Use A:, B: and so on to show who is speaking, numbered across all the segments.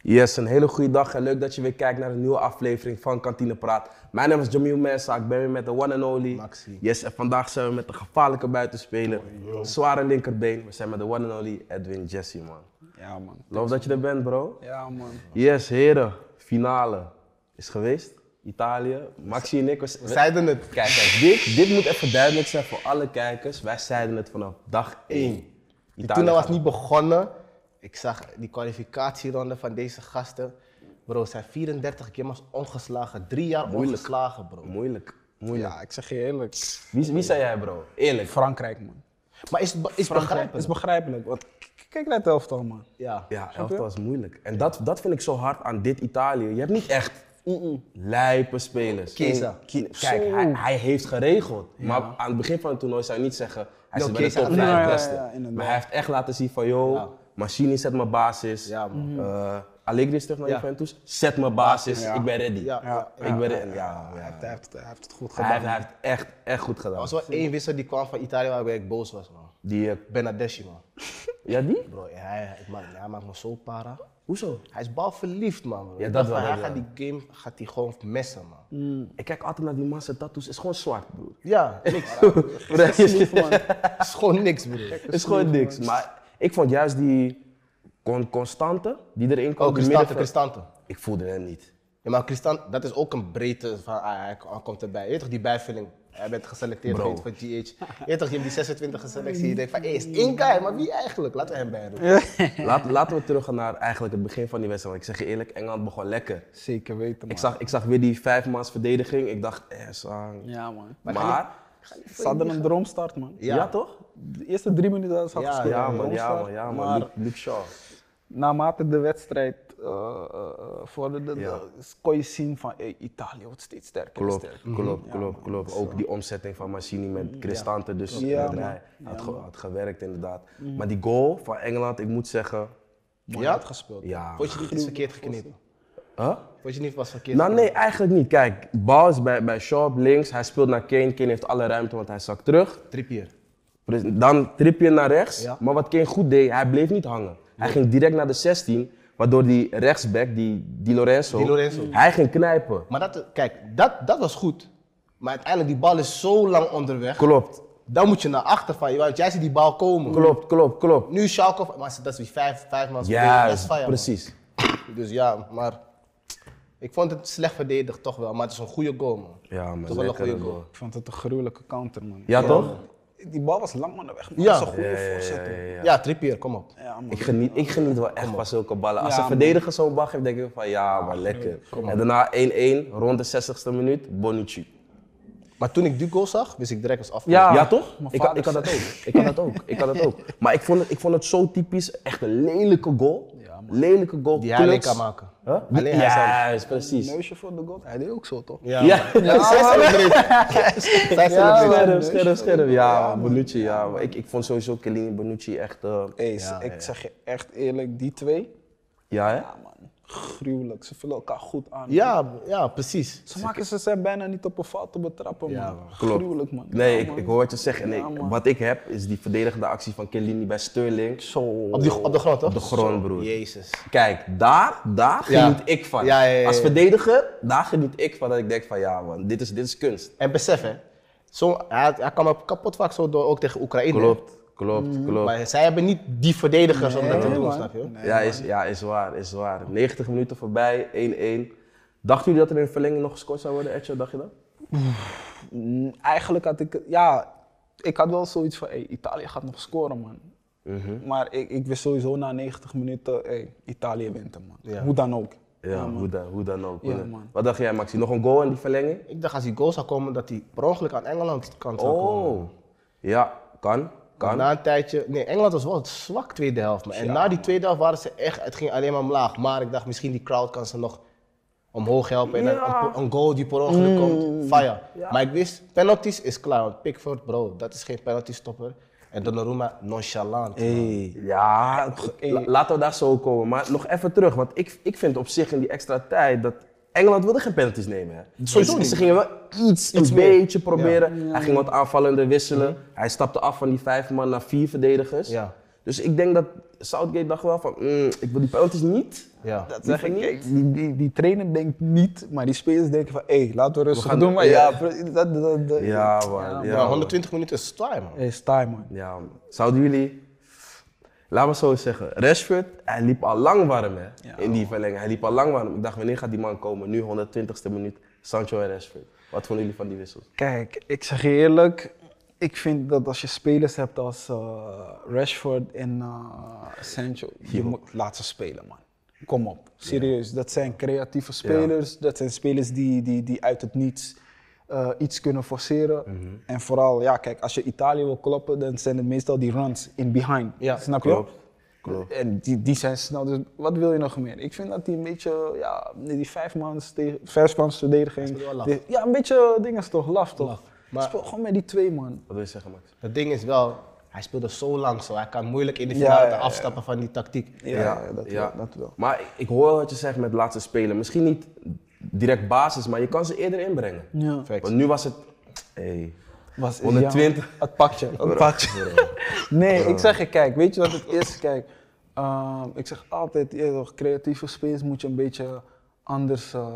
A: Yes, een hele goede dag en leuk dat je weer kijkt naar een nieuwe aflevering van Kantine Praat. Mijn naam is Jamil Mensa, ik ben weer met de one and only.
B: Maxi.
A: Yes, en vandaag zijn we met de gevaarlijke buitenspeler. Zware linkerbeen. We zijn met de one and only Edwin Jesse, man.
B: Ja, man.
A: Loof dat je er bent, bro.
B: Ja, man.
A: Yes, heren. Finale is geweest. Italië. Maxi en ik, we, we-
B: Zeiden het.
A: Kijk, kijk, dit, dit moet even duidelijk zijn voor alle kijkers. Wij zeiden het vanaf dag 1.
B: Die toen was niet begonnen. Ik zag die kwalificatieronde van deze gasten. Bro, ze zijn 34 keer maar ongeslagen. Drie jaar ongeslagen, bro.
A: Moeilijk. Moeilijk.
C: Ja, ik zeg je eerlijk.
A: Wie, wie zei jij, bro? Eerlijk.
C: Frankrijk, man.
B: Maar is, het be- is
C: Frankrijk
B: begrijpelijk.
C: is begrijpelijk. Want k- kijk naar het elftal, man.
B: Ja.
A: Ja, elftal is moeilijk. En dat, dat vind ik zo hard aan dit Italië. Je hebt niet echt lijpe spelers.
B: Chiesa.
A: Ki- Kijk, hij, hij heeft geregeld. Maar aan het begin van het toernooi zou je niet zeggen... Hij
B: Yo,
A: zit bij de
B: Chiesa
A: top
B: had-
A: 5
C: Ja, ja, ja,
A: beste.
C: ja, inderdaad.
A: maar hij heeft echt laten zien van... joh, Machini zet mijn basis.
B: Ja, man. Mhm.
A: Eh, Allegri is terug naar
B: Ja.
A: Juventus. Zet mijn basis. Ik ben ready.
B: Ja, ja,
A: Ik ben ready. Ja, ja.
C: Hij heeft, hij heeft, hij heeft het goed
A: Hij heeft,
C: gedaan.
A: hij heeft echt, echt goed gedaan.
B: Er was wel één wissel die kwam van Italië waarbij ik boos was, man.
A: Die, eh,
B: Benadeschi, man.
A: ja, die?
B: Bro, hij, hij, maakt- hij maakt me zo para.
A: Hoezo?
B: Hij is balverliefd, man. Bro.
A: Ja,
B: Ik
A: dat
B: dacht van,
A: wel,
B: Hij
A: dat
B: gaat die game gaat die gewoon messen, man.
A: Ik kijk altijd naar die massa tattoos. Het is gewoon zwart, broer.
B: Ja, niks.
A: Het is,
B: Het is gewoon niks, broer.
A: gewoon niks. Maar ik vond juist die Con- Constante, die erin kwam.
B: Oh,
A: die
B: Cristante,
A: middenveld-
B: Cristante.
A: Ik voelde hem niet.
B: Ja, maar Christian, dat is ook een breedte van, ah, hij k- hij komt erbij. Je weet toch, die bijvulling. Hij bent geselecteerd
A: Bro.
B: geweest voor GH. Je weet toch, je hebt die 26 geselecteerd. Je denkt van, hé, is één guy, maar wie eigenlijk? Laten we hem bijroepen.
A: Laat, laten we terug gaan naar eigenlijk het begin van die wedstrijd. Want ik zeg je eerlijk, Engeland begon lekker.
C: Zeker weten, man.
A: Ik zag, ik zag weer die vijfmans verdediging. Ik dacht, eh, zang.
C: Ja, man.
A: Maar,
C: Ze hadden een droomstart, man.
A: ja. toch?
C: De eerste drie minuten hadden ze al
B: Ja,
C: gespeeld.
A: Ja,
C: een
A: man, ja,
C: droomstart.
A: man, ja, man.
C: Maar
A: Luke, Luke Shaw.
C: naarmate de wedstrijd eh eh, vorderde, de-
A: Ja.
C: kon je zien van hey, Italië wordt steeds sterker. en
A: Klopt,
C: sterker.
A: klopt, klopt, klopt. Ook die omzetting van Machini met Cristante, dus
C: Ja,
A: met
C: man. Mm.
A: Rij, had, ge- had gewerkt inderdaad. Maar die goal van Engeland, ik moet zeggen,
B: Mooi uitgespeeld.
A: Ja.
B: Vond je niet iets verkeerd geknipt?
A: huh?
B: Vond je niet was verkeerd
A: Nou
B: geknipt?
A: nee, eigenlijk niet. Kijk, bal is bij, bij Shaw op links, hij speelt naar Kane, Kane heeft alle ruimte, want hij zakt terug.
B: Trippier.
A: Pres- Dan trip je naar rechts,
B: Ja.
A: maar wat Kane goed deed, hij bleef niet hangen. Hij ging direct naar de 16, waardoor die rechtsback, die, die Lorenzo,
B: Di Lorenzo.
A: hij ging knijpen.
B: Maar dat, kijk, dat, dat was goed. Maar uiteindelijk, die bal is zo lang onderweg.
A: Klopt,
B: Dan moet je naar achter van, want jij ziet die bal komen.
A: klopt, klopt, klopt.
B: Nu Schalke, maar dat is die vijf, vijf man.
A: Juist, precies.
B: Dus ja, maar ik vond het slecht verdedigd toch wel, maar het is een goede goal man.
A: Ja, man,
B: Toch wel een
A: lekkere
B: goede goal.
A: goal.
C: Ik vond het een gruwelijke counter, man.
A: Ja, toch?
C: Die bal was lang, man, weg. Man.
B: Ja.
C: Dat is een goede voorzet. hoor.
B: Ja, Trippier, kom op.
C: Ja, man.
A: Ik geniet, ik geniet wel echt van zulke ballen. Als
C: Ja,
A: een
C: man.
A: verdediger zo'n bal geeft, denk ik van ja, maar lekker. En daarna 1-1, rond de 60ste minuut, Bonucci.
B: Maar toen ik die goal zag, wist ik direct als af.
A: Ja,
C: Ja.
A: toch?
C: Mijn
A: Ik, had-
C: vader
A: ik had dat ook. Ik had dat ook. Ik had dat ook. Maar ik vond het, ik vond het zo typisch, echt een lelijke goal. lelijke goal.
B: Die hij alleen
A: kluts.
B: kan maken.
A: Huh? Die-
B: Alleen hij zelf.
A: Juist, precies.
C: Neusje voor de god. Hij deed ook zo, toch?
B: Ja.
A: Ja.
B: man. Zij celebreert. Zij celebreert.
A: Scherp, scherp, scherp. Ja, Bonucci. Ja, maar ik, ik vond sowieso Kelini Bonucci echt. eh,
C: Hey, ik zeg je echt eerlijk, die twee,
A: ja, hè?
C: ja man, gruwelijk. Ze vullen elkaar goed aan.
B: Ja, ja, precies.
C: Ze maken ze zijn bijna niet op een fout te betrappen, man.
A: Klopt.
C: Gruwelijk, man.
A: Nee,
C: Ja,
A: ik,
C: man.
A: ik hoor wat je zegt. En
C: Ja,
A: ik-
C: man.
A: wat ik heb, is die verdedigende actie van Kelini bij Sterling. Zo.
B: Op, die, op de grond toch?
A: Op de grond, broer.
B: Jezus.
A: Kijk, daar, daar
B: Ja.
A: geniet ik van.
B: Ja, ja, ja, ja.
A: Als verdediger, daar geniet ik van. Dat ik denk van ja man, dit is, dit is kunst.
B: En besef hè, zo, hij, hij kan me kapot vaak zo door, ook tegen Oekraïne.
A: Klopt, klopt, klopt.
B: Mm, Maar zij hebben niet die verdedigers om dat te doen, snap je?
A: ja, is, ja, is waar, is waar. 90 minuten voorbij, 1-1. Dachten jullie dat er in verlenging nog gescoord zou worden, Edjo? Dacht je dat?
C: Mm, Eigenlijk had ik, ja, ik had wel zoiets van, hey, Italië gaat nog scoren, man.
A: Mhm.
C: Maar ik, ik wist sowieso na 90 minuten, hey, Italië wint hem, man.
B: Ja.
C: Hoe dan ook.
A: Ja, hoe, dan, hoe dan ook.
C: Ja,
A: Hoe dan-
C: man.
A: Wat dacht jij, Maxi? Nog een goal in die verlenging?
B: Ik dacht als die goal zou komen, dat hij per ongeluk aan Engeland kant zou komen.
A: Oh, ja, kan, kan.
B: Na een tijdje, nee, Engeland was wel zwak tweede helft. man. En na die tweede helft waren ze echt, het ging alleen maar omlaag. Maar ik dacht, misschien die crowd kan ze nog omhoog helpen. En
A: Ja.
B: dan een, een goal die per ongeluk komt, fire. Maar ik wist, penalties is klaar. Want Pickford, bro, dat is geen penalty stopper. En Donnarumma, nonchalant.
A: Hey, ja, la- laten we daar zo komen. Maar nog even terug, want ik, ik vind op zich in die extra tijd dat Engeland wilde geen penalties nemen. Hè.
B: Sowieso
A: Ze-
B: niet.
A: Ze gingen wel iets, een beetje proberen. Hij ging wat aanvallender wisselen. Hij stapte af van die vijf man naar vier verdedigers.
B: Ja.
A: Dus ik denk dat Southgate dacht wel van, "Mm, ik wil die penalties niet.
B: Ja.
C: Dat zeg ik, kijk, die, die, die trainer denkt niet, maar die spelers denken van, hé, laten we rustig
A: gaan-
C: doen. Maar
A: ja.
C: ja, pre- dat, dat, dat,
A: Ja, man.
B: Ja,
A: Ja, man.
B: 120 minuten is zwaar, man.
C: Hey, Stijn, man.
A: Ja, man. Zouden jullie... Laat me zo zeggen. Rashford, hij liep al lang warm, hè. in die verlenging. Hij liep al lang warm. Ik dacht, wanneer gaat die man komen? Nu, 120ste minuut. Sancho en Rashford. Wat vonden jullie van die wissels?
C: Kijk, ik zeg je eerlijk, ik vind dat als je spelers hebt als eh, Rashford en eh, Sancho, je moet laat ze spelen, man. Kom op, serieus. Dat zijn creatieve spelers. Dat zijn spelers die, die, die uit het niets eh, iets kunnen forceren.
A: Mhm.
C: En vooral, ja, kijk, als je Italië wil kloppen, dan zijn het meestal die runs in behind.
B: Ja,
C: Snap je?
A: klopt. Klopt.
C: En die, die zijn snel, dus wat wil je nog meer? Ik vind dat die een beetje, ja, die vijfmans tegen- vijfmans verdediging.
B: is wel laf.
C: die- Ja, een beetje eh, dingen is toch, laf toch?
B: Laf. Maar-
C: Speel gewoon met die twee man.
A: Wat wil je zeggen, Max?
B: Het ding is wel, hij speelde zo lang zo. Hij kan moeilijk in de
C: Ja,
B: finale
C: ja, ja.
B: afstappen van die tactiek.
C: Ja, dat, Wel, dat wel.
A: Maar ik, ik hoor wat je zegt met laten spelen. Misschien niet direct basis, maar je kan ze eerder inbrengen.
C: Ja.
B: Facts.
A: Want nu was het... Hey.
C: Was,
A: 120.
C: ja, het pakje, het pakje. nee, ik zeg je, kijk, weet je wat het is? Kijk, ehm, ik zeg altijd, je toch, creatieve spelers moet je een beetje anders, eh,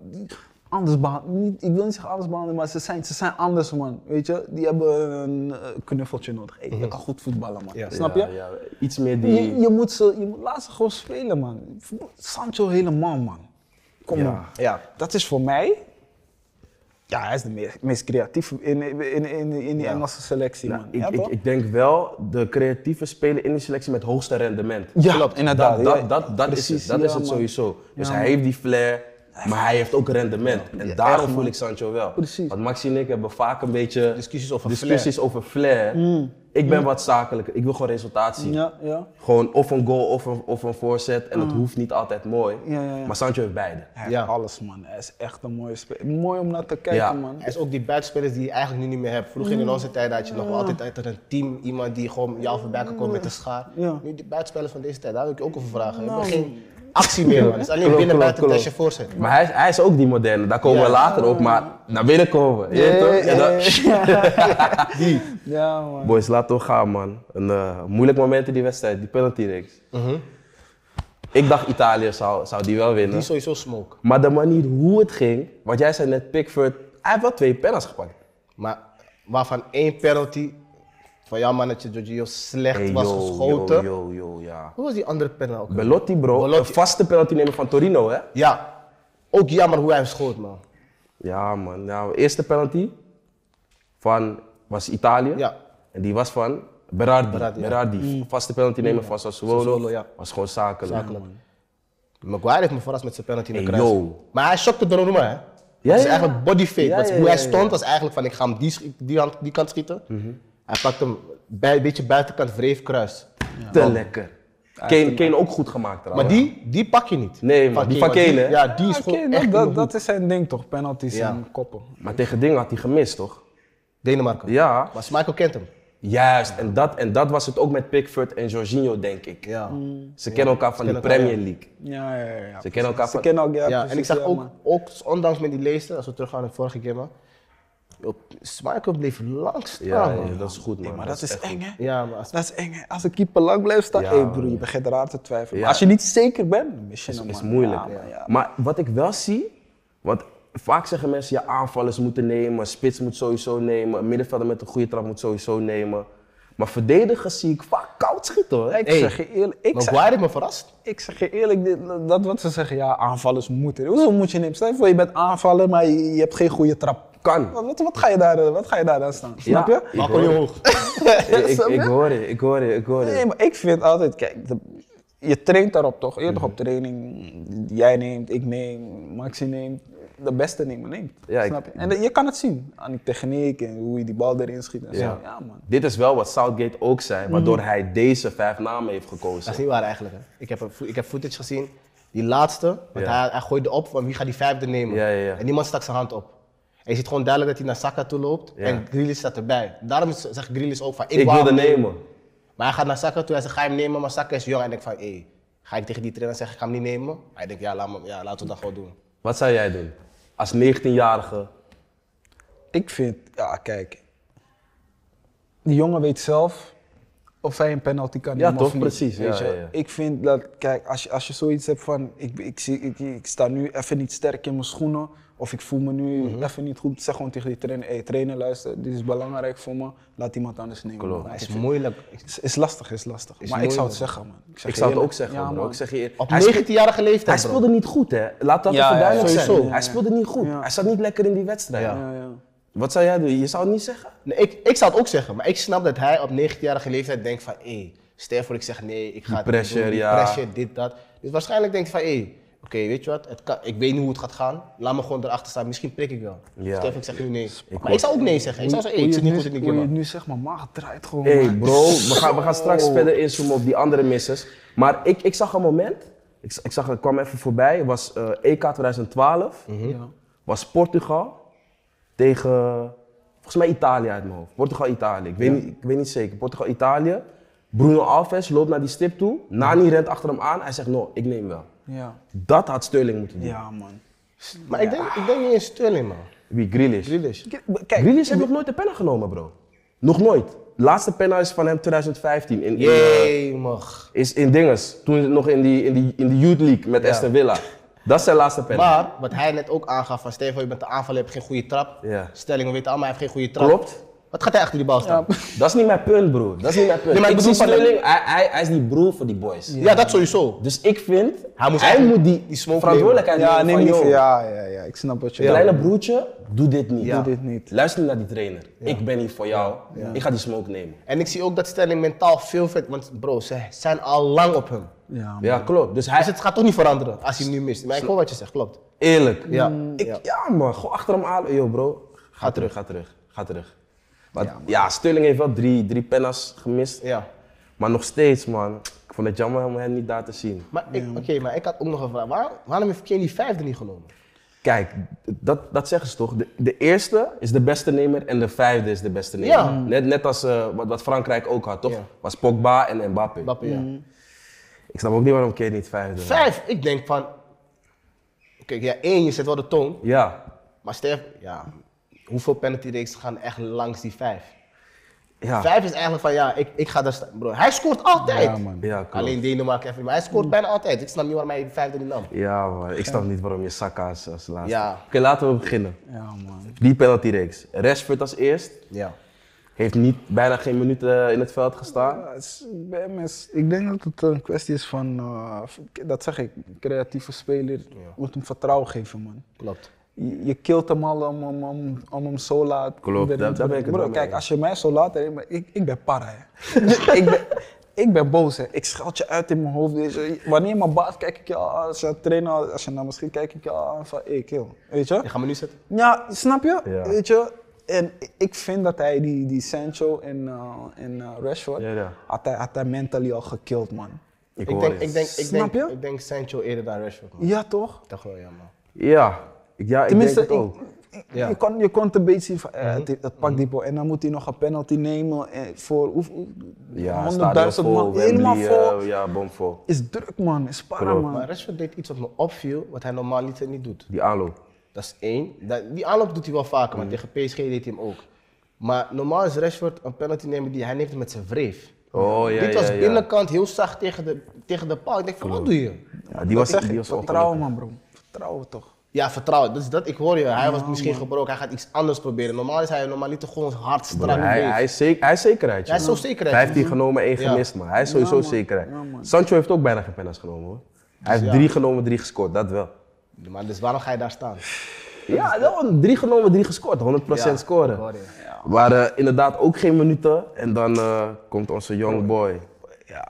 C: die- anders behandelen. Niet, ik wil niet zeggen anders behandelen, maar ze zijn, ze zijn anders, man. Weet je, die hebben een eh, knuffeltje nodig. Hey, je kan goed voetballen, man.
B: Ja.
C: Snap je?
A: Ja, ja, iets meer die...
C: Je, je moet ze, je moet, laat ze gewoon spelen, man. Sancho helemaal, man. Kom
A: Ja.
C: op. Dat is voor mij... Ja, hij is de meest, meest creatieve in, in, in, in die Engelse selectie,
A: Nou,
C: man.
A: ik,
C: Ja,
A: ik,
C: toch?
A: ik denk wel de creatieve speler in die selectie met hoogste rendement.
C: Ja, inderdaad.
A: Dat, dat,
C: Ja,
A: dat, dat is
C: precies.
A: het, dat
C: Ja,
A: is het
C: man.
A: sowieso. Dus
C: Ja,
A: hij
C: man.
A: heeft die flair, maar hij heeft ook rendement. En daarom
C: echt,
A: voel
C: man.
A: ik Sancho wel.
C: Precies.
A: Want Maxi en ik hebben vaak een beetje
B: Discussies over
A: discussies over flair. Ik ben wat zakelijker, ik wil gewoon resultaat zien.
C: Mm. Ja, ja.
A: Gewoon of een goal of een, of een voorzet. En dat hoeft niet altijd mooi.
C: Ja, ja, ja.
A: Maar Sancho heeft beide.
C: Hij
B: Ja.
C: heeft alles, man. Hij is echt een mooie speler. Mooi om naar te kijken,
A: Ja.
C: man.
B: Hij is ook die buitenspelers die je eigenlijk nu niet meer hebt. Vroeger in onze tijd had je nog wel altijd uit een team iemand die gewoon jou voorbij kan komen met een schaar.
C: Ja. Nou.
B: Nu die buitenspelers van deze tijd, daar wil ik je ook over vragen. We hebben geen actie meer, man. Het is alleen binnen
A: klopt,
B: buiten
A: klopt.
B: als je voorzet.
A: Maar hij, is- hij is ook die moderne, daar komen we
B: Ja.
A: later op. Maar naar binnen komen. je weet toch? Ja, dat-
C: Ja, man.
A: Boys, laten we gaan, man. Een eh, moeilijk moment in die wedstrijd, die penalty reeks.
B: Mhm.
A: Ik dacht Italië zou, zou die wel winnen.
B: Die is sowieso smoke.
A: Maar de manier hoe het ging, want jij zei net Pickford, hij heeft wel twee pennas gepakt.
B: Maar waarvan één penalty van jouw mannetje Giorgio slecht
A: Hey,
B: was
A: yo,
B: geschoten.
A: Yo, yo, yo, ja.
B: Hoe was die andere penalty? ook?
A: Belotti, bro.
B: Belotti.
A: De vaste penaltynemer van Torino, hè?
B: Ja, ook jammer hoe hij hem schoot, man.
A: Ja, man. Nou, eerste penalty van, was Italië.
B: Ja.
A: En die was van Berardi. Berardi,
B: Berardi, ja. Mm.
A: vaste penaltynemer van Sassuolo.
B: Sassuolo, ja.
A: Was gewoon zakelijk. Mm.
B: Zakelijk. Maguire heeft me verrast met zijn penalty in
A: Hey,
B: de kruis.
A: yo.
B: Maar hij shockte Donnarumma, hè?
A: Ja,
B: dat is
A: ja,
B: eigenlijk
A: ja.
B: body fake.
A: Ja,
B: Dat is
A: ja,
B: hoe hij
A: ja, ja. Mhm.
B: stond was eigenlijk van ik ga hem die, sch- die, hand- die kant schieten. Hij pakt hem bij, een beetje buitenkant wreef kruis.
A: Te lekker. Kane, Kane ook goed gemaakt trouwens.
B: Maar die, die pak je niet.
A: Nee, man. Die van
B: maar
A: Kane, hè?
B: Ja, die is
C: Ja,
B: gewoon
C: oké,
B: echt
C: dat,
B: niet
C: dat
B: goed.
C: is zijn ding, toch? Penalties
B: Ja.
C: en koppen.
A: Maar tegen dingen had hij gemist, toch?
B: Denemarken.
A: Ja.
B: Maar Michael kent hem.
A: Juist, en dat, en dat was het ook met Pickford en Jorginho, denk ik.
B: Ja.
C: Mm,
A: Ze kennen elkaar van de
B: kennen elkaar,
A: Premier League.
C: Ja, ja, ja. ja.
A: Ze kennen elkaar
C: Ze
A: van...
C: kennen ook, ja.
B: Ja,
C: precies,
B: en ik zag
C: ja,
B: ook,
C: man.
B: ook, ondanks met die leester, als we teruggaan naar de vorige keer, man. joh, Michael bleef lang staan,
A: Ja,
B: man.
A: ja, dat is goed, man.
C: Nee, maar dat, is
A: echt
C: eng,
A: goed.
C: hè?
B: Ja, maar als-
C: Dat is eng, hè? Als een keeper lang blijft staan,
A: Ja,
C: hey broer,
A: man.
C: je begint eraan te twijfelen.
A: Ja.
C: Maar als je niet zeker bent, dan mis je hem,
A: is, is
C: man.
A: moeilijk.
C: Ja, man, ja.
A: Maar wat ik wel zie, want vaak zeggen mensen, ja, aanvallers moeten nemen, spits moet sowieso nemen, een middenvelder met een goede trap moet sowieso nemen. Maar verdedigers zie ik vaak koud schieten, hoor.
C: Ik
A: Hey,
C: zeg je eerlijk, ik zeg,
B: Maguire heeft me verrast.
C: ik zeg je eerlijk dit- dat wat ze zeggen, ja, aanvallers moeten. Hoezo moet je nemen? Stel je voor, je bent aanvaller, maar je, je hebt geen goede trap.
A: kan.
C: Wat, wat, wat ga je daar, wat ga je daar aan staan? Snap
A: Ja,
C: je?
A: ik
B: Maak je
A: hoor,
B: hoog.
A: ik, ik,
C: Snap je?
A: ik hoor je, ik hoor je, ik hoor je.
C: Nee, maar ik vind altijd, kijk, de- je traint daarop toch? Je hebt toch op training, jij neemt, ik neem, Maxi neemt, de beste nemen neemt.
A: Ja, ik-
C: snap je? En dat- je kan het zien aan die techniek en hoe je die bal erin schiet en
A: Ja.
C: zo. Ja, man.
A: Dit is wel wat Southgate ook
C: Mhm.
A: zei, waardoor hij deze vijf namen heeft gekozen.
B: Dat is niet waar eigenlijk. Hè. Ik, heb, een fo- ik heb footage gezien, die laatste, want
A: Ja.
B: hij, hij gooide op van wie gaat die vijfde nemen.
A: Ja, ja, ja.
B: En niemand stak zijn hand op. En je ziet gewoon duidelijk dat hij naar Saka toe loopt
A: Ja.
B: en Grealish staat erbij. Daarom is- zegt Grealish ook van ik,
A: Ik
B: wou
A: wilde
B: hem
A: nemen.
B: Maar hij gaat naar Saka toe, hij zegt ga je hem nemen, maar Saka is jong. En ik denk van hé, ga ik tegen die trainer zeggen ik ga hem niet nemen? Hij denkt ja, laat me, ja laten we dat gewoon doen.
A: Wat zou jij doen? Als 19-jarige.
C: Ik vind, ja, kijk, die jongen weet zelf, of hij een penalty kan
A: Ja,
C: nemen
A: toch?
C: of niet.
A: Precies,
C: weet
A: ja,
C: je.
A: ja, ja.
C: Ik vind dat, kijk, als je, als je zoiets hebt van, ik, ik, zie- ik, ik sta nu even niet sterk in mijn schoenen, of ik voel me nu
A: Mhm.
C: even niet goed, zeg gewoon tegen die trainer, hey, trainer luister, dit is belangrijk voor me, laat iemand anders nemen.
A: Klopt.
C: Maar
B: Het is
C: ik vind-
B: moeilijk.
C: is, is lastig, is lastig.
B: Is
C: maar ik zou het
B: moeilijk.
C: zeggen, man. zeg
A: Ik
C: je
A: zou het
C: eerlijk.
A: ook zeggen,
C: Ja,
A: bro.
C: man.
A: Ik zeg je eer-
B: Op
A: Hij speelt-
B: 19-jarige leeftijd,
A: Hij
B: bro.
A: speelde niet goed, hè? Laat dat
C: Ja,
A: even
C: ja,
A: duidelijk
C: sowieso.
A: zijn.
C: Ja,
A: Hij
C: ja.
A: speelde niet goed.
C: Ja.
A: Hij zat niet lekker in die wedstrijd.
B: Ja.
C: Ja, ja.
A: Wat zou jij doen? Je zou het niet zeggen?
B: Nee, ik, ik zou het ook zeggen, maar ik snap dat hij op 19-jarige leeftijd denkt van, hé, stel voor ik zeg nee, ik ga het niet
A: pressure,
B: doen,
A: ja.
B: pressure, dit, dat. Dus waarschijnlijk denkt hij van, hé, oké, weet je wat, het kan, ik weet niet hoe het gaat gaan, laat me gewoon erachter staan, misschien prik ik wel.
A: Ja.
B: Stel voor ik zeg nu nee. maar
A: hoor-
B: ik zou ook nee zeggen, ik zou zeggen, hé,
C: Hoe
B: ik
C: je
B: zit
C: het
B: niet goed in
C: nu-
B: die
C: Hoe je
B: game.
C: het nu zegt, mijn maag draait gewoon.
A: Hey
C: man.
A: bro, we gaan, we gaan straks verder inzoomen op die andere misses. Maar ik, ik zag een moment, ik, z- ik zag, het kwam even voorbij, was eh, EK 2012,
C: Ja.
A: was Portugal tegen, volgens mij Italië uit mijn hoofd. Portugal-Italië, ik, weet niet- ik weet niet zeker. Portugal-Italië, Bruno Alves loopt naar die stip toe, Nani rent achter hem aan, hij zegt no, ik neem wel.
C: Ja.
A: Dat had Sterling moeten doen.
C: ja, man.
B: Maar ik, denk, ik denk niet eens Sterling, man.
A: Wie, Grealish?
B: Grealish.
C: Kijk,
A: Grealish heeft nog nooit de penna genomen bro. Nog nooit. Laatste penna is van hem 2015 in, in, eh,
B: Jee, mag.
A: is in dinges. Toen nog in die, in die, in die Youth League met Aston Villa. Dat is zijn laatste pen.
B: Maar, wat hij net ook aangaf, van stel voor je bent de aanvaller, je hebt geen goede trap.
A: Ja.
B: Stelling, we weten allemaal, hij heeft geen goede trap.
A: Klopt.
B: Wat gaat hij achter die bal staan? Ja,
A: Dat is niet mijn punt, bro. Dat is niet mijn punt.
B: Nee, maar ik
A: ik zie
B: bedoel van-
A: Sterling, hij, hij, hij is die broer voor die boys.
B: dat sowieso.
A: Dus ik vind, hij
B: Hij
A: moet,
B: moest eigenlijk
A: die,
B: die smoke
A: verantwoordelijkheid
C: ja,
A: nemen
C: neem niet.
A: van, joh,
C: Ja, ja, ja, ik snap wat je bedoelt.
A: kleine broertje, doe dit niet.
C: Doe dit niet.
A: Luister niet naar die trainer. Ik ben hier voor jou. Ik ga die smoke nemen.
B: En ik zie ook dat Sterling mentaal veel vet, want bro, ze zijn al lang op hem.
C: Ja, man.
A: Ja, klopt. Dus hij
B: Dus
A: zit
B: het gaat toch niet veranderen als hij hem nu mist. Maar ik hoor wat je zegt, klopt.
A: eerlijk. Mm.
B: Ja.
A: Ik, ja. man, gewoon achter hem aan. Yo bro, ga terug, ga terug, ga terug. Maar, ja, Sterling heeft wel drie, drie penna's gemist.
B: Ja.
A: Maar nog steeds, man. Ik vond het jammer om hem niet daar te zien.
B: Maar ik, oké, maar ik had ook nog een vraag. Waar- waarom heeft Kane die vijfde niet genomen?
A: Kijk, dat, dat zeggen ze toch? De, de eerste is de beste nemer en de vijfde is de beste nemer.
B: Ja.
A: Net, net als eh, wat, wat Frankrijk ook had, toch?
B: Ja.
A: Was Pogba en Mbappé.
B: Mbappé, ja.
A: Ik snap ook niet waarom Kane niet vijfde was.
B: Vijf, ik denk van... Oké, ja, één, je zet wel de toon.
A: Ja.
B: Maar Sterf, ja, hoeveel penalty reeks gaan echt langs die vijf?
A: Ja.
B: Vijf is eigenlijk van, ja, ik, ik ga daar staan. Bro, hij scoort altijd.
C: Ja, man.
A: Ja, klopt.
B: Alleen Denemarken even, maar hij scoort bijna altijd. Ik snap niet waarom hij die vijfde niet nam.
A: Ja, man. Ik snap niet waarom je Saka als, als laatste.
B: Ja.
A: Oké, laten we beginnen.
C: Ja, man.
A: Die penaltyreeks. Rashford als eerst.
B: Ja.
A: Heeft niet, bijna geen minuut eh, in het veld gestaan.
C: Ja, het is- bij hem is- ik denk dat het een kwestie is van, eh, dat zeg ik, creatieve speler moet hem vertrouwen geven, man.
B: Klopt.
C: Je, je kilt hem al om, om, om, om hem zo laat.
A: Klopt,
C: erin
A: daar-
C: te-
A: daar ben ik het
C: Bro,
A: wel mee
C: Kijk,
A: eens.
C: als je mij zo laat erin, maar ik, ik ben para, hè. ik, ben, ik ben boos, hè. Ik scheld je uit in mijn hoofd. Dus, eh, wanneer mijn baas kijk ik je al aan, als je trainer, als je naar misschien kijk ik je al aan van, hey, kill. Weet je?
B: Je gaat me nu zetten?
C: Ja, snap je?
A: Ja.
C: Weet je? En ik vind dat hij die, die Sancho en, eh, en eh, Rashford,
A: Ja, ja.
C: Had, hij, had hij mentally al gekild, man.
A: Ik,
B: Ik
A: hoor
B: denk,
A: je.
B: ik denk, ik
C: Snap
B: denk,
C: je?
B: ik denk Sancho eerder dan Rashford, man.
C: Ja, toch?
B: Ik dacht wel, ja, man.
A: Ja. Ik- Ja, ik
C: Tenminste,
A: denk het ook. Mhm.
C: ik- ik-
B: Ja.
C: je, kon, je kon het een beetje zien van, eh, het, het pakt die bal. En dan moet hij nog een penalty nemen eh, voor hoe- hoe-
A: Ja,
C: 100.000 man. helemaal vol.
A: eh, ja, bomvol.
C: Is druk, man. Is para,
A: Klopt.
C: man.
B: Maar Rashford deed iets wat me opviel, wat hij normaal niet, niet doet.
A: Die aanloop.
B: Dat is één. Dat, die aanloop doet hij wel vaker,
A: Mm.
B: maar tegen PSG deed hij hem ook. Maar normaal is Rashford een penalty nemen die hij neemt hem met zijn wreef.
A: Oh ja,
B: Dit was
A: ja, ja.
B: binnenkant heel zacht tegen de, tegen de paal. Ik denk van, wat doe je?
A: Ja, die was,
C: Zeg
A: die
C: ik,
A: was
C: vertrouwen, man, bro. Vertrouwen toch?
B: Ja, vertrouwen. Dus dat, ik hoor je. Hij was misschien gebroken. Hij gaat iets anders proberen. Normaal is hij normaliter gewoon hard strak.
A: ongelukkig. Hij,
B: wreef.
A: hij, is zeker, hij is zekerheid.
B: Hij is
A: joh.
B: zo zekerheid,
A: 15 genomen, 1
B: Ja.
A: gemist, man. Hij is sowieso
C: man.
A: zekerheid.
C: Ja, man.
A: Sancho heeft ook bijna geen penalties genomen, hoor. Hij heeft
B: ja.
A: 3 genomen, 3 gescoord, dat wel.
B: Maar dus waarom ga je daar staan?
A: Ja, wel, 3 genomen, 3 gescoord, 100%
B: Ja, ik
A: scoren.
B: hoor je.
A: Maar eh, inderdaad ook geen minuten. En dan eh, komt onze young boy,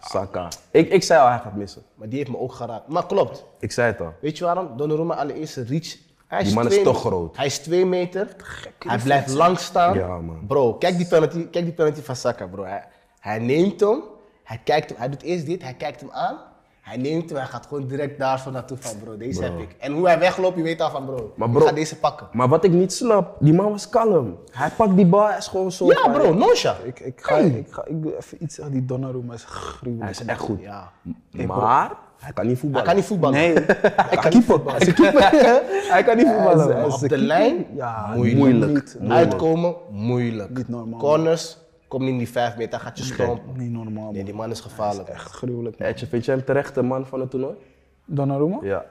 A: Saka. Ik, ik zei al, hij gaat missen.
B: Maar die heeft me ook geraakt. Maar klopt.
A: Ik zei het al.
B: Weet je waarom? Donnarumma allereerst een reach. Hij
A: Die man is
B: twee-
A: toch groot.
B: Hij is twee meter. Hij blijft lang staan.
A: Ja, man.
B: Bro, kijk die penalty, kijk die penalty van Saka, bro. Hij, hij neemt hem. Hij, kijkt hem. hij doet eerst dit. Hij kijkt hem aan. Hij neemt hem. Hij gaat gewoon direct daar zo naartoe van, bro, deze heb ik. En hoe hij wegloopt, je weet al van, bro,
A: Maar
B: ik
A: bro-
B: ga deze pakken.
A: Maar wat ik niet snap, die man was kalm. Hij pakt die bal, hij is gewoon zo...
B: Ja, bro, Nonsha.
C: Ik, ik, ga, ik, ga, ik doe even iets zeggen. Die Donnarumma is gruwelijk.
A: Hij is echt goed.
B: Ja.
A: Maar hij kan niet
B: Hij
A: voetballen.
B: kan niet voetballen. Nee. Hij kan niet voetballen.
A: Hij kan niet voetballen.
B: Op de lijn,
C: Ja,
A: moeilijk.
C: Niet,
B: Uitkomen, moeilijk.
C: Niet normaal.
B: Corners, Kom niet in die vijf meter, hij gaat je stompen.
C: Niet normaal,
B: Nee,
C: man.
B: die man is gevaarlijk.
C: Echt gruwelijk, man.
A: Etje, vind jij hem terecht de man van het toernooi?
C: Donnarumma?
A: Ja.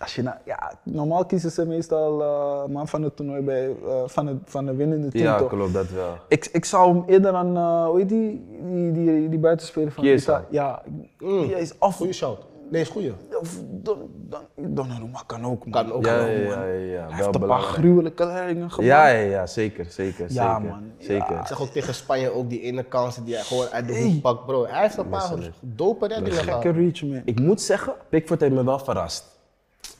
C: Als je nou, ja, normaal kiezen ze meestal eh, man van het toernooi bij, eh, van, het, van de winnende team,
A: Ja,
C: toch?
A: klopt, dat wel.
C: Ik, ik zou hem eerder aan, eh, hoe heet die, die, die, die buitenspeler van
A: Chiesa.
C: Italië- Ja,
B: Mm.
C: die is af.
B: Goeie shout. Nee, is goeie.
C: Of Don, Don, Donnarumma kan ook, man.
B: Kan ook
A: Ja,
B: wel,
A: ja,
B: man.
A: ja, ja,
C: Hij
A: wel
C: heeft een paar
A: belangrijk.
C: gruwelijke reddingen gemaakt.
A: Ja, ja, ja, zeker, zeker,
C: Ja,
A: zeker.
C: man, ja.
A: Zeker.
B: Ik zag ook tegen Spanje ook die ene kansen die hij gewoon uit de hoek pakt, bro. Hij heeft een paar dope reddingen gehad.
C: Gekke reach, man.
A: Ik moet zeggen, Pickford heeft me wel verrast.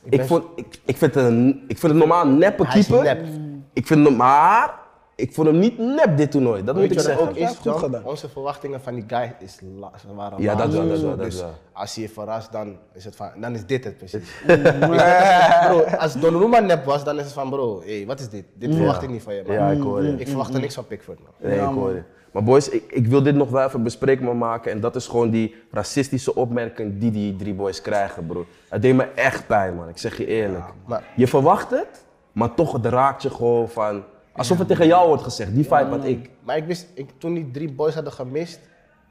A: Ik,
B: ben-
A: vond, ik, ik, vind het een, ik vind het normaal een neppe
B: Hij is
A: keeper.
B: nep.
A: Ik vind hem, maar ik vond hem niet nep dit toernooi. Dat moet
B: Weet
A: ik
B: je wat
A: zeggen.
B: ook
C: Hij
B: is,
C: heeft goed
B: John?
C: gedaan.
B: Onze verwachtingen van die guy is la- ze waren
A: Ja,
B: laag.
A: dat wel, dat
B: Dus
A: wel, dat
B: dus
A: wel.
B: als je je verrast, dan is, het van, dan is dit het precies. bro, als Donnarumma nep was, dan is het van bro, hey, wat is dit? Dit verwacht ik niet van je, man.
A: Ja, ik hoor je.
B: Ik verwachtte niks van Pickford, man.
A: Nee, ik hoor je. Maar boys, ik, ik wil dit nog wel even bespreekbaar maken. En dat is gewoon die racistische opmerking die die drie boys krijgen, bro. Het deed me echt pijn, man. Ik zeg je eerlijk.
B: maar-
A: je verwacht het, maar toch het raakt je gewoon van... Alsof het tegen jou wordt gezegd. Die vibe had ik.
B: Maar ik wist, ik, toen die drie boys hadden gemist,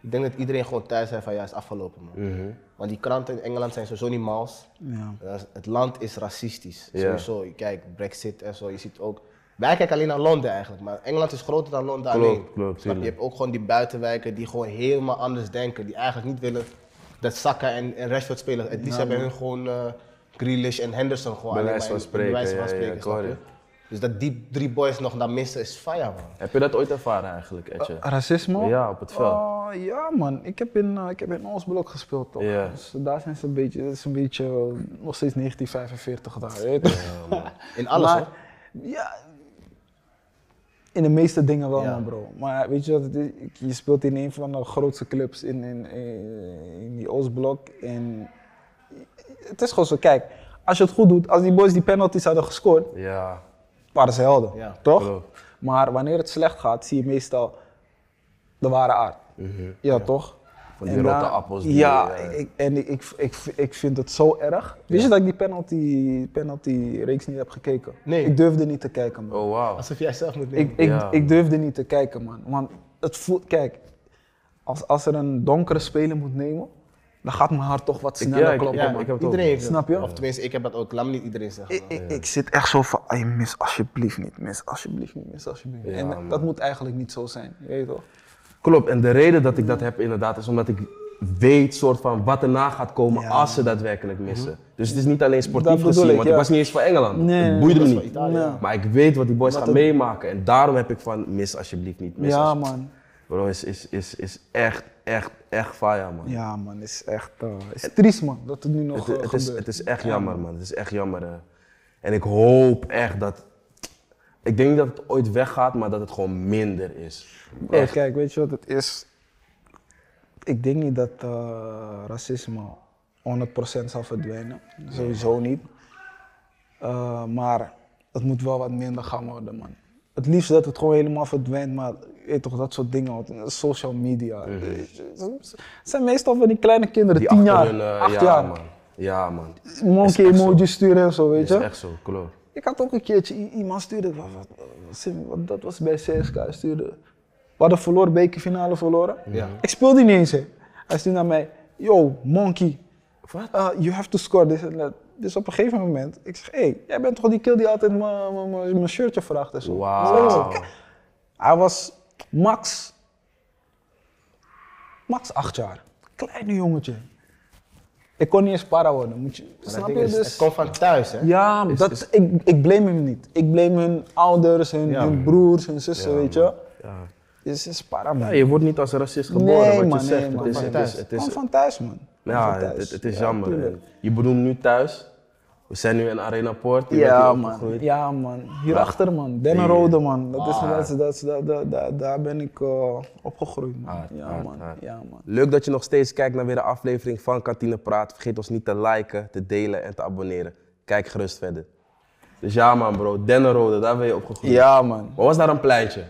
B: ik denk dat iedereen gewoon thuis zei van ja, is afgelopen, man.
A: Mhm.
B: Want die kranten in Engeland zijn sowieso niet mals.
C: Ja.
B: Dat is- Het land is racistisch.
A: Ja.
B: Sowieso. Kijk, Brexit en zo. Je ziet ook. Wij kijken alleen naar Londen eigenlijk, maar Engeland is groter dan Londen
A: Klopt,
B: alleen.
A: klopt,
B: Snap je? je hebt ook gewoon die buitenwijken die gewoon helemaal anders denken. Die eigenlijk niet willen dat Saka en, en Rashford spelen. En die hebben hun gewoon eh, Grealish en Henderson gewoon
A: Bij
B: alleen
A: wijze
B: maar
A: van
B: in- bij wijze
A: spreken,
B: van
A: ja, ja,
B: spreken,
A: ik hoor
B: snap je? Dus dat die drie boys nog dan missen is fire, man.
A: Heb je dat ooit ervaren eigenlijk, Etje?
B: Ah,
C: Racisme?
A: Ja, op het veld.
C: Oh, ja, man. Ik heb in, eh, ik heb in Oostblok gespeeld, toch?
A: Ja.
C: Dus daar zijn ze een beetje, het is een beetje eh, nog steeds 1945 daar. weet je toch?
B: In alles,
C: Maar-
B: hoor.
C: Ja. In de meeste dingen wel,
B: Ja.
C: man, bro. Maar weet je wat het is? Ik- Je speelt in een van de grootste clubs in, in, in, in die Oostblok. En het is gewoon zo, kijk. Als je het goed doet, als die boys die penalties hadden gescoord,
A: Ja.
C: waren ze helden,
B: Ja.
C: toch?
A: Klopt.
C: Maar wanneer het slecht gaat, zie je meestal de ware aard. Ja, toch?
A: Mhm. Van die
C: En
A: rotte
C: daar-
A: appels die,
C: ja,
A: eh,
C: ik, en ik, ik, ik, ik vind het zo erg. Wist je dat ik die penalty, penalty reeks niet heb gekeken?
B: Nee.
C: Ik durfde niet te kijken, man.
A: Oh, wauw.
B: Alsof jij zelf moet nemen.
C: Ik, ik,
A: Ja.
C: ik durfde niet te kijken, man. Want het voelt, kijk, als, als er een donkere speler moet nemen, dan gaat mijn hart toch wat sneller
A: ja, ik-
C: kloppen.
A: ik
B: ja,
A: heb-
C: man.
A: ik heb het ook.
B: iedereen heeft dat.
C: Snap je?
B: Of tenminste, ik heb dat ook. Laat me niet iedereen zeggen.
A: Oh,
C: Ik, ik, ik zit echt zo van, "Ay, mis alsjeblieft niet, mis alsjeblieft niet, mis alsjeblieft niet.
A: Ja,
C: en
A: man.
C: dat moet eigenlijk niet zo zijn, je weet toch?
A: Klopt, en de reden dat ik dat heb inderdaad is omdat ik weet soort van wat erna gaat komen als ze daadwerkelijk missen. Dus het is niet alleen
C: Mhm. Dat
A: sportief
C: bedoel
A: gezien,
C: ik,
A: want
C: ja.
A: ik was niet eens van Engeland.
C: Nee,
A: het
C: nee,
A: boeide me
B: dat was
A: niet.
B: van Italië.
C: Ja.
A: Maar ik weet wat die boys gaan
C: het-
A: meemaken en daarom heb ik van mis alsjeblieft niet, mis
C: ja,
A: alsjeblieft.
C: man.
A: Bro, is, is, is, is echt, echt, echt fire man.
C: Ja, man, is echt, eh, is triest, man, dat het nu nog
A: Het,
C: eh,
A: het, is,
C: gebeurt.
A: het is echt jammer, man. Het is echt jammer. hè. En ik hoop echt dat. Ik denk niet dat het ooit weggaat, maar dat het gewoon minder is.
C: Bro, kijk, weet je wat het is? Ik denk niet dat eh, racisme 100% zal verdwijnen. Sowieso niet. Eh, maar het moet wel wat minder gaan worden, man. Het liefst dat het gewoon helemaal verdwijnt, maar je weet toch dat soort dingen. want, eh, Social media. Eh, Het zijn meestal van die kleine kinderen,
A: Mhm. Die
C: tien
A: achter
C: jaar,
A: hun, eh,
C: acht
A: ja,
C: jaar.
A: man. Ja, man.
C: Monkey emojis sturen en zo, weet
A: Dat
C: je.
A: is echt zo, klopt.
C: Ik had ook een keertje i- iemand stuurde, wat, wat, wat- wat- dat was bij CSK, stuurde. We hadden verloren, bekerfinale verloren.
B: Ja.
C: Ik speelde niet eens. hè. Hij stuurde naar mij, yo, monkey, uh, you have to score this and that. Dus op een gegeven moment, ik zeg, hé, hey, jij bent toch die kill die altijd mijn- mijn- mijn mijn shirtje vraagt en zo.
A: Wauw.
C: Hij was max, max acht jaar. Kleine jongetje. Ik kon niet eens para worden, moet je,
B: Maar dat
C: snap je?
B: ding is,
C: Dus,
B: Het komt van thuis, hè?
C: ja, dat, Ik, ik blame hem niet. Ik blame hun ouders, hun,
B: Ja,
C: hun
B: man.
C: broers, hun zussen, weet je.
A: Ja.
C: Dus het is para, man.
A: Ja, je wordt niet als racist geboren,
C: Nee,
A: wat je
C: man, nee,
A: zegt.
C: man,
A: het is,
C: van
A: het
B: thuis.
A: is, het
C: Kom
A: is,
C: van thuis, man. Kom
A: ja,
C: van
A: het,
C: thuis.
A: het is
C: Ja,
A: jammer.
C: tuurlijk.
A: En je bedoelt nu thuis. We zijn nu in Arena Poort. Je
C: Ja,
A: bent hier
C: man.
A: opgegroeid. Ah.
C: Ja, man. Hierachter, man. Dennenrode, man. Dat is, dat is, dat is, dat, dat, dat- daar ben ik eh, opgegroeid, man.
A: Hard,
C: ja,
A: hard,
C: man.
A: hard.
C: Ja, man.
A: Leuk dat je nog steeds kijkt naar weer een aflevering van Kantine Praat. Vergeet ons niet te liken, te delen en te abonneren. Kijk gerust verder. Dus ja man bro, Dennenrode, daar ben je opgegroeid.
C: Ja, man.
A: Maar was daar een pleintje?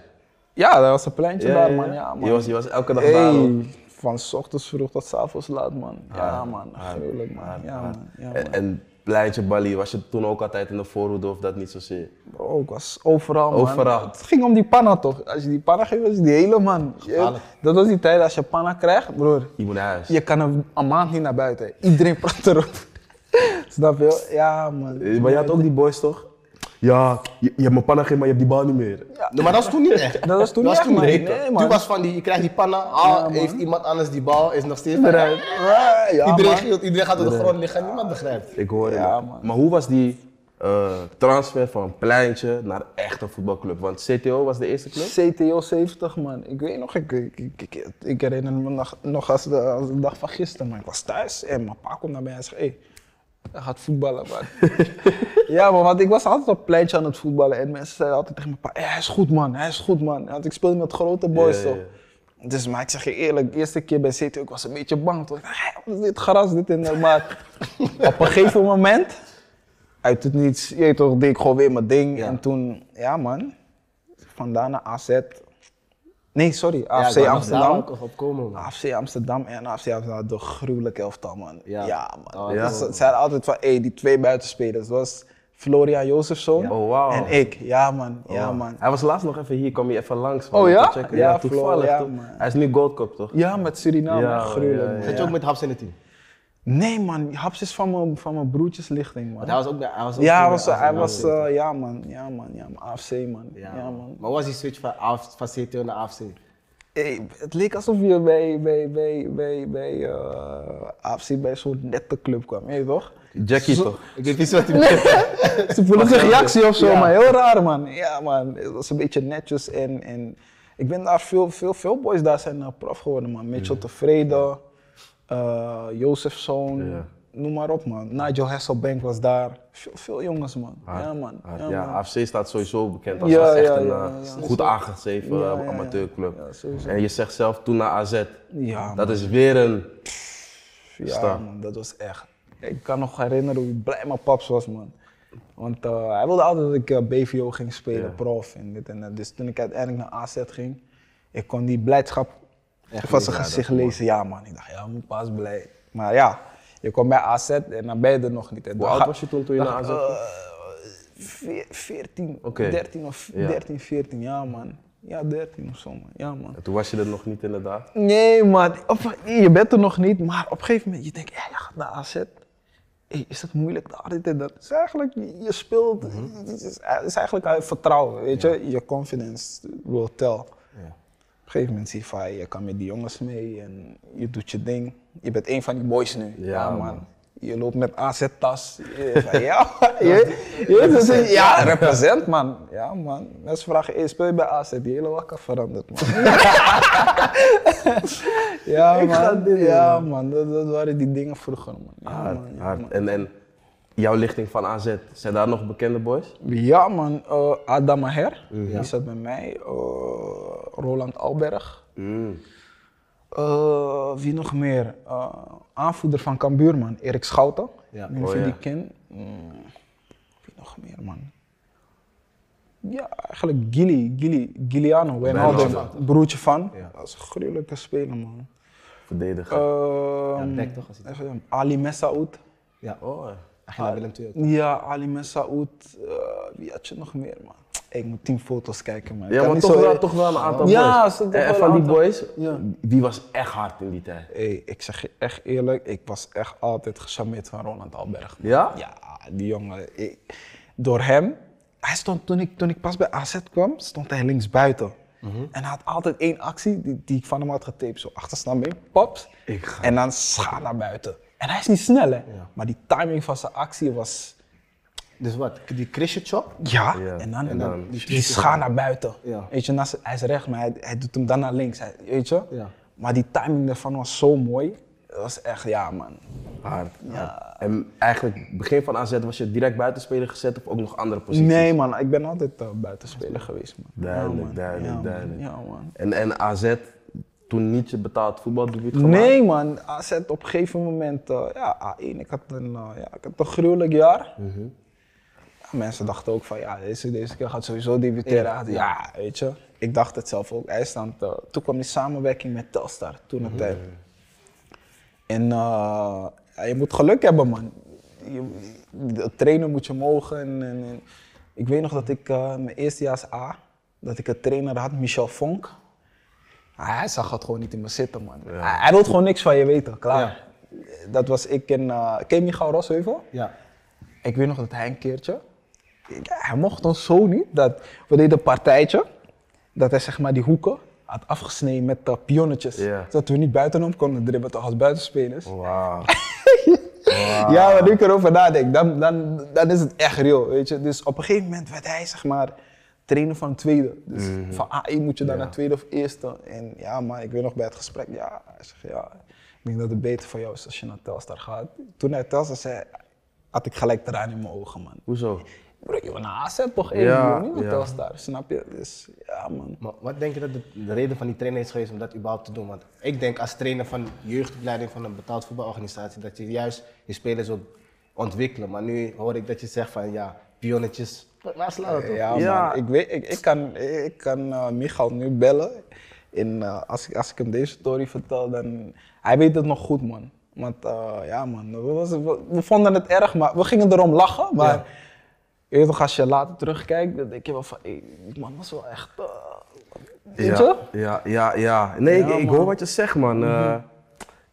C: Ja, dat was een pleintje
A: Ja,
C: daar,
A: ja,
C: man.
A: ja.
C: Ja, man.
A: Je was, je was elke dag
C: Hey,
A: daar. hoor.
C: van 's ochtends vroeg tot 's avonds laat, man. Ja, man. Gruwelijk, man. ja, man. Ja, man.
A: En, en Pleintje Bali, was je toen ook altijd in de voorhoede of dat niet zozeer?
C: Bro, ik was overal, man.
A: Overal.
C: Het ging om die panna, toch? Als je die panna geeft, was je die hele man. Je-
B: Gevaarlijk.
C: dat was die tijd, als je panna krijgt, broer.
A: Je moet naar huis.
C: Je kan een, een maand niet naar buiten. Iedereen praat erop. Snap je? Ja, man.
A: Eh, Maar je had ook die boys toch? Ja, je, je hebt mijn panna gegeven, maar je hebt die bal niet meer.
B: Nee, maar dat was toen niet echt.
C: Dat was toen niet echt, man.
B: niet echt.
C: Nee,
B: Toen
C: man.
B: was van die, je krijgt die panna, ah, heeft iemand anders die bal, is nog steeds
C: Eruit. Ah, Ja,
B: Iedereen,
C: man.
B: gilt, iedereen gaat op de grond liggen, niemand begrijpt.
A: Ik hoor
C: Ja,
A: het.
C: man.
A: Maar hoe was die eh, transfer van een pleintje naar echt een voetbalclub? Want CTO was de eerste club.
C: CTO 70, man. Ik weet nog, ik, ik, ik, ik- ik herinner me nog, nog als, de, als de dag van gisteren, man. Ik was thuis en mijn pa komt naar mij en zegt, hey, hij gaat voetballen, man. ja, man, want ik was altijd op het pleintje aan het voetballen en mensen zeiden altijd tegen mijn pa, "Hey, hij is goed, man, hij is goed, man. Want ik speelde met grote boys,
A: Ja, ja,
C: toch. Dus, maar ik zeg je eerlijk, de eerste keer bij CTO, ik was een beetje bang, toch. Ik dacht, "Hey, wat is dit gras, dit en dat, maar op een gegeven moment, uit het niets, je weet toch, deed ik gewoon weer mijn ding. En toen, ja man, vandaan naar AZ. Nee, sorry, AFC
B: ik wou nog
C: Amsterdam. Ah,
B: daar ook op komen, man.
C: AFC Amsterdam en AFC Amsterdam, de gruwelijke elftal man. Ja,
B: Ja.
C: man.
A: Ja.
C: Dus het zijn altijd van, hé, die twee buitenspelers. Dat was Florian Jozefsson
A: Oh, wauw.
C: en ik. Ja man,
A: Oh,
C: ja
A: wow.
C: man.
A: Hij was laatst nog even hier, kwam je even langs.
C: Oh,
A: om
C: ja?
A: te checken.
C: Ja,
A: Ja, toevallig
C: Flo, ja,
A: toch?
C: man.
A: Hij is nu Goldcup toch?
C: Ja, met Suriname,
A: Ja,
C: gruwelijk
A: ja,
C: man.
B: Zat je ook met Haps in het team?
C: Nee man, Haps is van mijn, van mijn broertjeslichting man.
B: Want hij was ook bij, hij was ook
C: Ja,
B: toen
C: hij
B: bij
C: was,
B: AFC.
C: hij was eh, ja man, ja man, ja man, AFC man. Ja,
B: Ja,
C: man.
B: Maar hoe was die switch van, AF van CTO naar AFC?
C: Hey, Eh, het leek alsof je bij, bij, bij, bij, bij eh, AFC bij zo'n nette club kwam, weet je toch?
A: Jackie toch?
B: Ik weet niet wat hij bedoelt.
C: Ze voelen zich reactie of zo, maar heel raar man. Ja man, het was een beetje netjes en, en ik ben daar veel, veel, veel boys daar zijn eh, prof geworden man. Mitchell Tevreden, eh Jozefzoon,
A: Ja.
C: noem maar op man. Nigel Hasselbank was daar, veel, veel jongens man. ja man,
A: Ah,
C: ja,
A: ja,
C: man.
A: AFC staat sowieso bekend als
C: Ja,
A: als echt
C: ja,
A: een
C: ja,
A: eh,
C: ja, ja.
A: goed aangeschreven
C: Ja,
A: eh,
C: ja, ja.
A: amateurclub.
C: Ja, sowieso.
A: en je zegt zelf toen naar AZ.
C: Ja,
A: dat is weer een.
C: Ja,
A: Star.
C: man, dat was echt. Ik kan nog herinneren hoe blij mijn paps was, man. Want eh, hij wilde altijd dat ik eh, BVO ging spelen,
A: Ja.
C: prof en dit en dat. Dus toen ik uiteindelijk naar AZ ging, ik kon die blijdschap van zijn gezicht lezen. Ja, man. Ik dacht, ja, mijn pa is blij. Maar ja, je komt bij AZ en dan ben je er nog niet. En
A: Hoe
C: dan
A: oud
C: ga- Eh,
A: was je toen toen je naar AZ ging?
C: Veer- 14,
A: Oké.
C: 13 of
A: Ja.
C: 13, 14, ja, man. Ja, 13 of zo, man. Ja, man.
A: En toen was je er nog niet inderdaad.
C: Nee, man. Op- je bent er nog niet, maar op een gegeven moment, je denkt, ja, je gaat naar AZ. Hey, is dat moeilijk daar, dit en dat? Het is eigenlijk, je speelt, het, is, het is eigenlijk uit vertrouwen, weet je. Je confidence will tell. Op een gegeven moment zie je van, je kan met die jongens mee en je doet je ding. Je bent een van die boys nu. Ja, man. Je loopt met AZ-tas. Je- van, Ja, man. je, je, dus je- ja, represent man. Ja man. Mensen vragen, hey, eh, speel je bij AZ? Die hele wakker veranderd man. Ja, man. ja, man. Ah, Dat, dat waren die dingen vroeger, man. Ja,
A: Hard,
C: man.
A: hard. En, en jouw lichting van AZ, zijn daar nog bekende boys?
C: Ja, man. Eh, Adam Maher, die zat bij mij. Eh, Roland Alberg.
A: Mm.
C: Eh, wie nog meer? Eh, aanvoerder van Cambuur, man. Erik Schouten.
B: Ja.
C: Ik weet niet of
A: Oh,
C: je
A: ja.
C: die kent. Mm, Wie nog meer, man? Ja, eigenlijk Gili, Gili, Giliano, Wijnaldum, broertje van. Dat is een gruwelijke speler, man.
A: Verdediger.
C: Eh,
B: back toch, als hij-
C: even, Ali Messaoud.
B: Ja, hij
A: oh.
B: ging naar Willem II ook.
C: Ja, Ali Messaoud. eh wie had je nog meer, man? Ik moet tien foto's kijken, man. Ik
A: Ja,
C: kan
A: maar
C: niet
A: toch
C: zo-
A: wel, toch wel een aantal
C: Ja,
A: boys.
C: ze toch
A: en en
C: wel
A: van die
C: een aantal-
A: boys,
C: Ja.
A: die was echt hard in die tijd.
C: Hey, ik zeg je echt eerlijk, ik was echt altijd gecharmeerd van Roland Alberg. man.
A: Ja?
C: Ja, die jongen. ik- door hem, hij stond, toen, ik, toen ik pas bij AZ kwam, stond hij links buiten.
A: Mhm.
C: En hij had altijd één actie die, die ik van hem had getaped. Zo achterstand mee, paps.
A: Ik ga-
C: En dan scha naar buiten. En hij is niet snel, hè? Maar die timing van zijn actie was.
B: Dus wat, die Christian chop?
C: Ja,
A: Ja,
C: en dan,
A: en dan-
C: die, die schaar naar buiten.
B: Ja.
C: Weet je, naast, hij is recht, maar hij, hij doet hem dan naar links. Hij, weet je?
B: Ja.
C: Maar die timing daarvan was zo mooi. Dat was echt, ja man.
A: Hard. hard. En eigenlijk, begin van AZ was je direct buitenspeler gezet of ook nog andere posities?
C: Nee man, ik ben altijd eh, buitenspeler geweest man.
A: Duidelijk,
C: Ja, man.
A: duidelijk,
C: Ja, man.
A: duidelijk.
C: Ja man.
A: En, en AZ, toen niet je betaald voetbaldebuut gemaakt?
C: Nee man, AZ op een
A: Mhm.
C: gegeven moment, eh, ja A1, ik had een, eh, ja, ik had een gruwelijk jaar. mensen dachten ook van ja, deze, deze keer gaat sowieso debuteren.
B: Ja.
C: Hij had- Ja, weet je. Ik dacht het zelf ook. Hij stond, eh, toen kwam die samenwerking met Telstar, toen
A: Mhm.
C: een tijd. En eh, ja, je moet geluk hebben, man. Je, de trainer moet je mogen. En, en- en ik weet nog dat ik eh, mijn eerstejaars A, dat ik een trainer had, Michel Vonk. Ah, hij zag het gewoon niet in me zitten, man. Hij, hij wilde gewoon niks van je weten, klaar. Dat was ik en... eh ken je Michael Rosheuvel?
B: Ja.
C: Ik weet nog dat hij een keertje. ik- Hij mocht ons zo niet. Dat, we deden een partijtje. Dat hij zeg maar die hoeken had afgesneden met eh, pionnetjes.
A: Ja.
C: Zodat we niet buitenom konden dribbelen toch als buitenspelers.
A: Wauw. Ah.
C: Ja, maar nu ik erover nadenk, dan, dan, dan is het echt real, weet je. Dus op een gegeven moment werd hij, zeg maar, trainer van tweede. Dus
A: Mhm.
C: van A1 moet je dan naar tweede of eerste. En ja, maar ik weet nog bij het gesprek, ja, hij zegt, ja, ik denk dat het beter voor jou is als je naar Telstar gaat. Toen hij Telstar zei, had ik gelijk eraan in mijn ogen, man.
A: Hoezo?
C: Bro, je wil naar AZ toch? Ja,
A: Ja,
C: je wil niet naar
A: ja.
C: Telstar, snap je? Dus ja, man.
B: Maar wat denk je dat de, de reden van die trainer is geweest om dat überhaupt te doen? Want ik denk als trainer van jeugdopleiding van een betaald voetbalorganisatie dat je juist je spelers wil ontwikkelen. Maar nu hoor ik dat je zegt van ja, pionnetjes, waar slaat dat op?
C: Ja,
A: Ja.
C: man. Ik, weet, ik, ik kan, ik kan eh, Michal nu bellen. En eh, als, ik, als ik hem deze story vertel, dan... Hij weet het nog goed, man. Want eh, ja, man. We, was- we, we vonden het erg, maar we gingen erom lachen. Maar je weet toch, als je later terugkijkt, dan denk je wel van... Hey, die man was wel echt... eh, weet je?
A: Ja, ja, ja, ja. Nee, ik- ik,
C: Ja, man. Mhm.
A: hoor wat je zegt, man. Eh,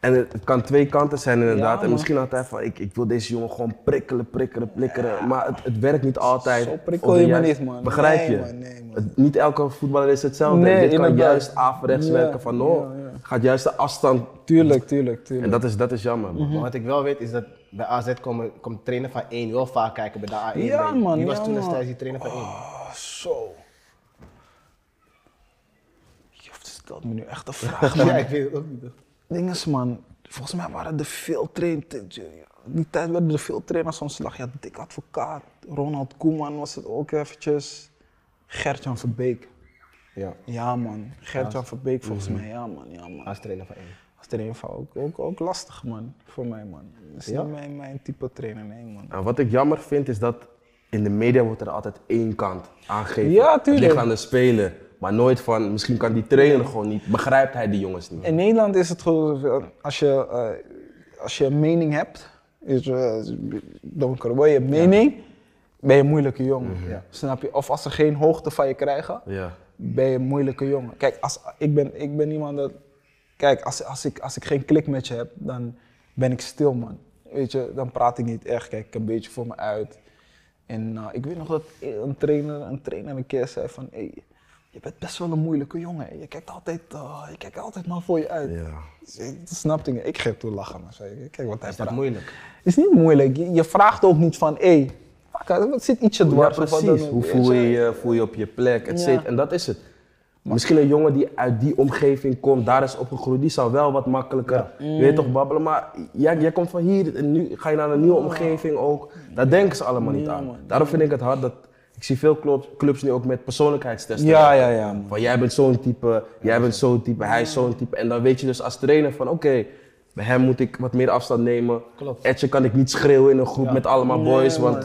A: en het, het kan twee kanten zijn, inderdaad. en
C: man.
A: misschien had hij van, ik, ik wil deze jongen gewoon prikkelen, prikkelen, prikkelen. Maar het, het werkt niet altijd.
C: Zo prikkel
A: op de
C: je me
A: juiste-
C: niet, man.
A: Begrijp
C: Nee,
A: je?
C: man, nee, man.
A: Het- niet elke voetballer is hetzelfde.
C: Nee,
A: En dit kan
C: inderdaad.
A: juist averechts
C: Ja,
A: werken van, oh,
C: ja, ja.
A: gaat juist de afstand.
C: Tuurlijk, tuurlijk,
A: En
C: tuurlijk.
A: dat is, dat is jammer,
C: Mhm.
A: man.
B: Maar wat ik wel weet is dat bij AZ komen, komt trainer van 1 wel vaak kijken bij de A1.
C: Ja,
B: bij-
C: man,
B: Wie was
C: ja,
B: toen
C: man.
B: destijds die trainer van 1?
C: Oh, zo. Je stelt me nu echt een vraag, man.
B: ja, ik weet het ook niet.
C: ding is, man, volgens mij waren er veel trainers. Die tijd werden er veel trainers ontslag. Je had Dick Advocaat, Ronald Koeman was het ook eventjes. Gertjan Verbeek.
B: Ja,
C: Ja, man. Gertjan Verbeek volgens mij. Ja, man. Ja, man.
B: als trainer van 1.
C: Als trainer van ook, ook, ook lastig, man. Voor mij, man. Dat is
B: Ja?
C: niet mijn, mijn type trainer, nee, man.
A: En Nou, wat ik jammer vind is dat in de media wordt er altijd één kant aangegeven.
C: Ja,
A: Het
C: tuurlijk.
A: ligt aan de speler. Maar nooit van, misschien kan die trainer gewoon niet, begrijpt hij die jongens niet.
C: In Nederland is het gewoon, zo van, als je, eh, als je een mening hebt, is, eh, donker, hoor, je hebt mening, ben je een moeilijke jongen.
B: Ja.
C: Snap je? Of als ze geen hoogte van je krijgen,
A: Ja.
C: ben je een moeilijke jongen. Kijk, als, ik, ben, ik ben iemand dat. Kijk, als, als, ik, als ik geen klik met je heb, dan ben ik stil, man. Weet je, dan praat ik niet echt. Kijk, ik een beetje voor me uit. En eh, ik weet nog dat een trainer een, trainer een keer zei van. Hey, je bent best wel een moeilijke jongen. Je kijkt altijd, eh, je kijkt altijd maar voor je uit.
A: Ja.
C: Dus ik- Dat snapte ik. niet. Ik ging toen lachen. Maar zei, kijk wat hij
B: Is dat
C: praat.
B: moeilijk?
C: Het is niet moeilijk. Je, je vraagt ook niet van, hé, hey, fuck, wat zit ietsje
A: Ja,
C: dwars? of wat dan
A: precies.
C: ook,
A: Hoe
C: weet
A: voel je
C: je?
A: je? Voel je op je plek? Et
C: Ja.
A: cetera. En dat is het. Misschien een jongen die uit die omgeving komt, daar is opgegroeid, die zou wel wat makkelijker,
C: Mm.
A: weet toch, babbelen. Maar jij, jij komt van hier en nu ga je naar een nieuwe omgeving ook. Daar denken ze allemaal niet aan. Daarom vind ik het hard dat, ik zie veel clubs, clubs nu ook met persoonlijkheidstesten.
C: Ja,
A: werken.
C: ja, ja, man.
A: Van jij bent zo'n type, jij bent zo'n type, hij is zo'n type. En dan weet je dus als trainer van, oké, bij hem moet ik wat meer afstand nemen.
B: Klopt.
A: Etje kan ik niet schreeuwen in een groep met allemaal boys, want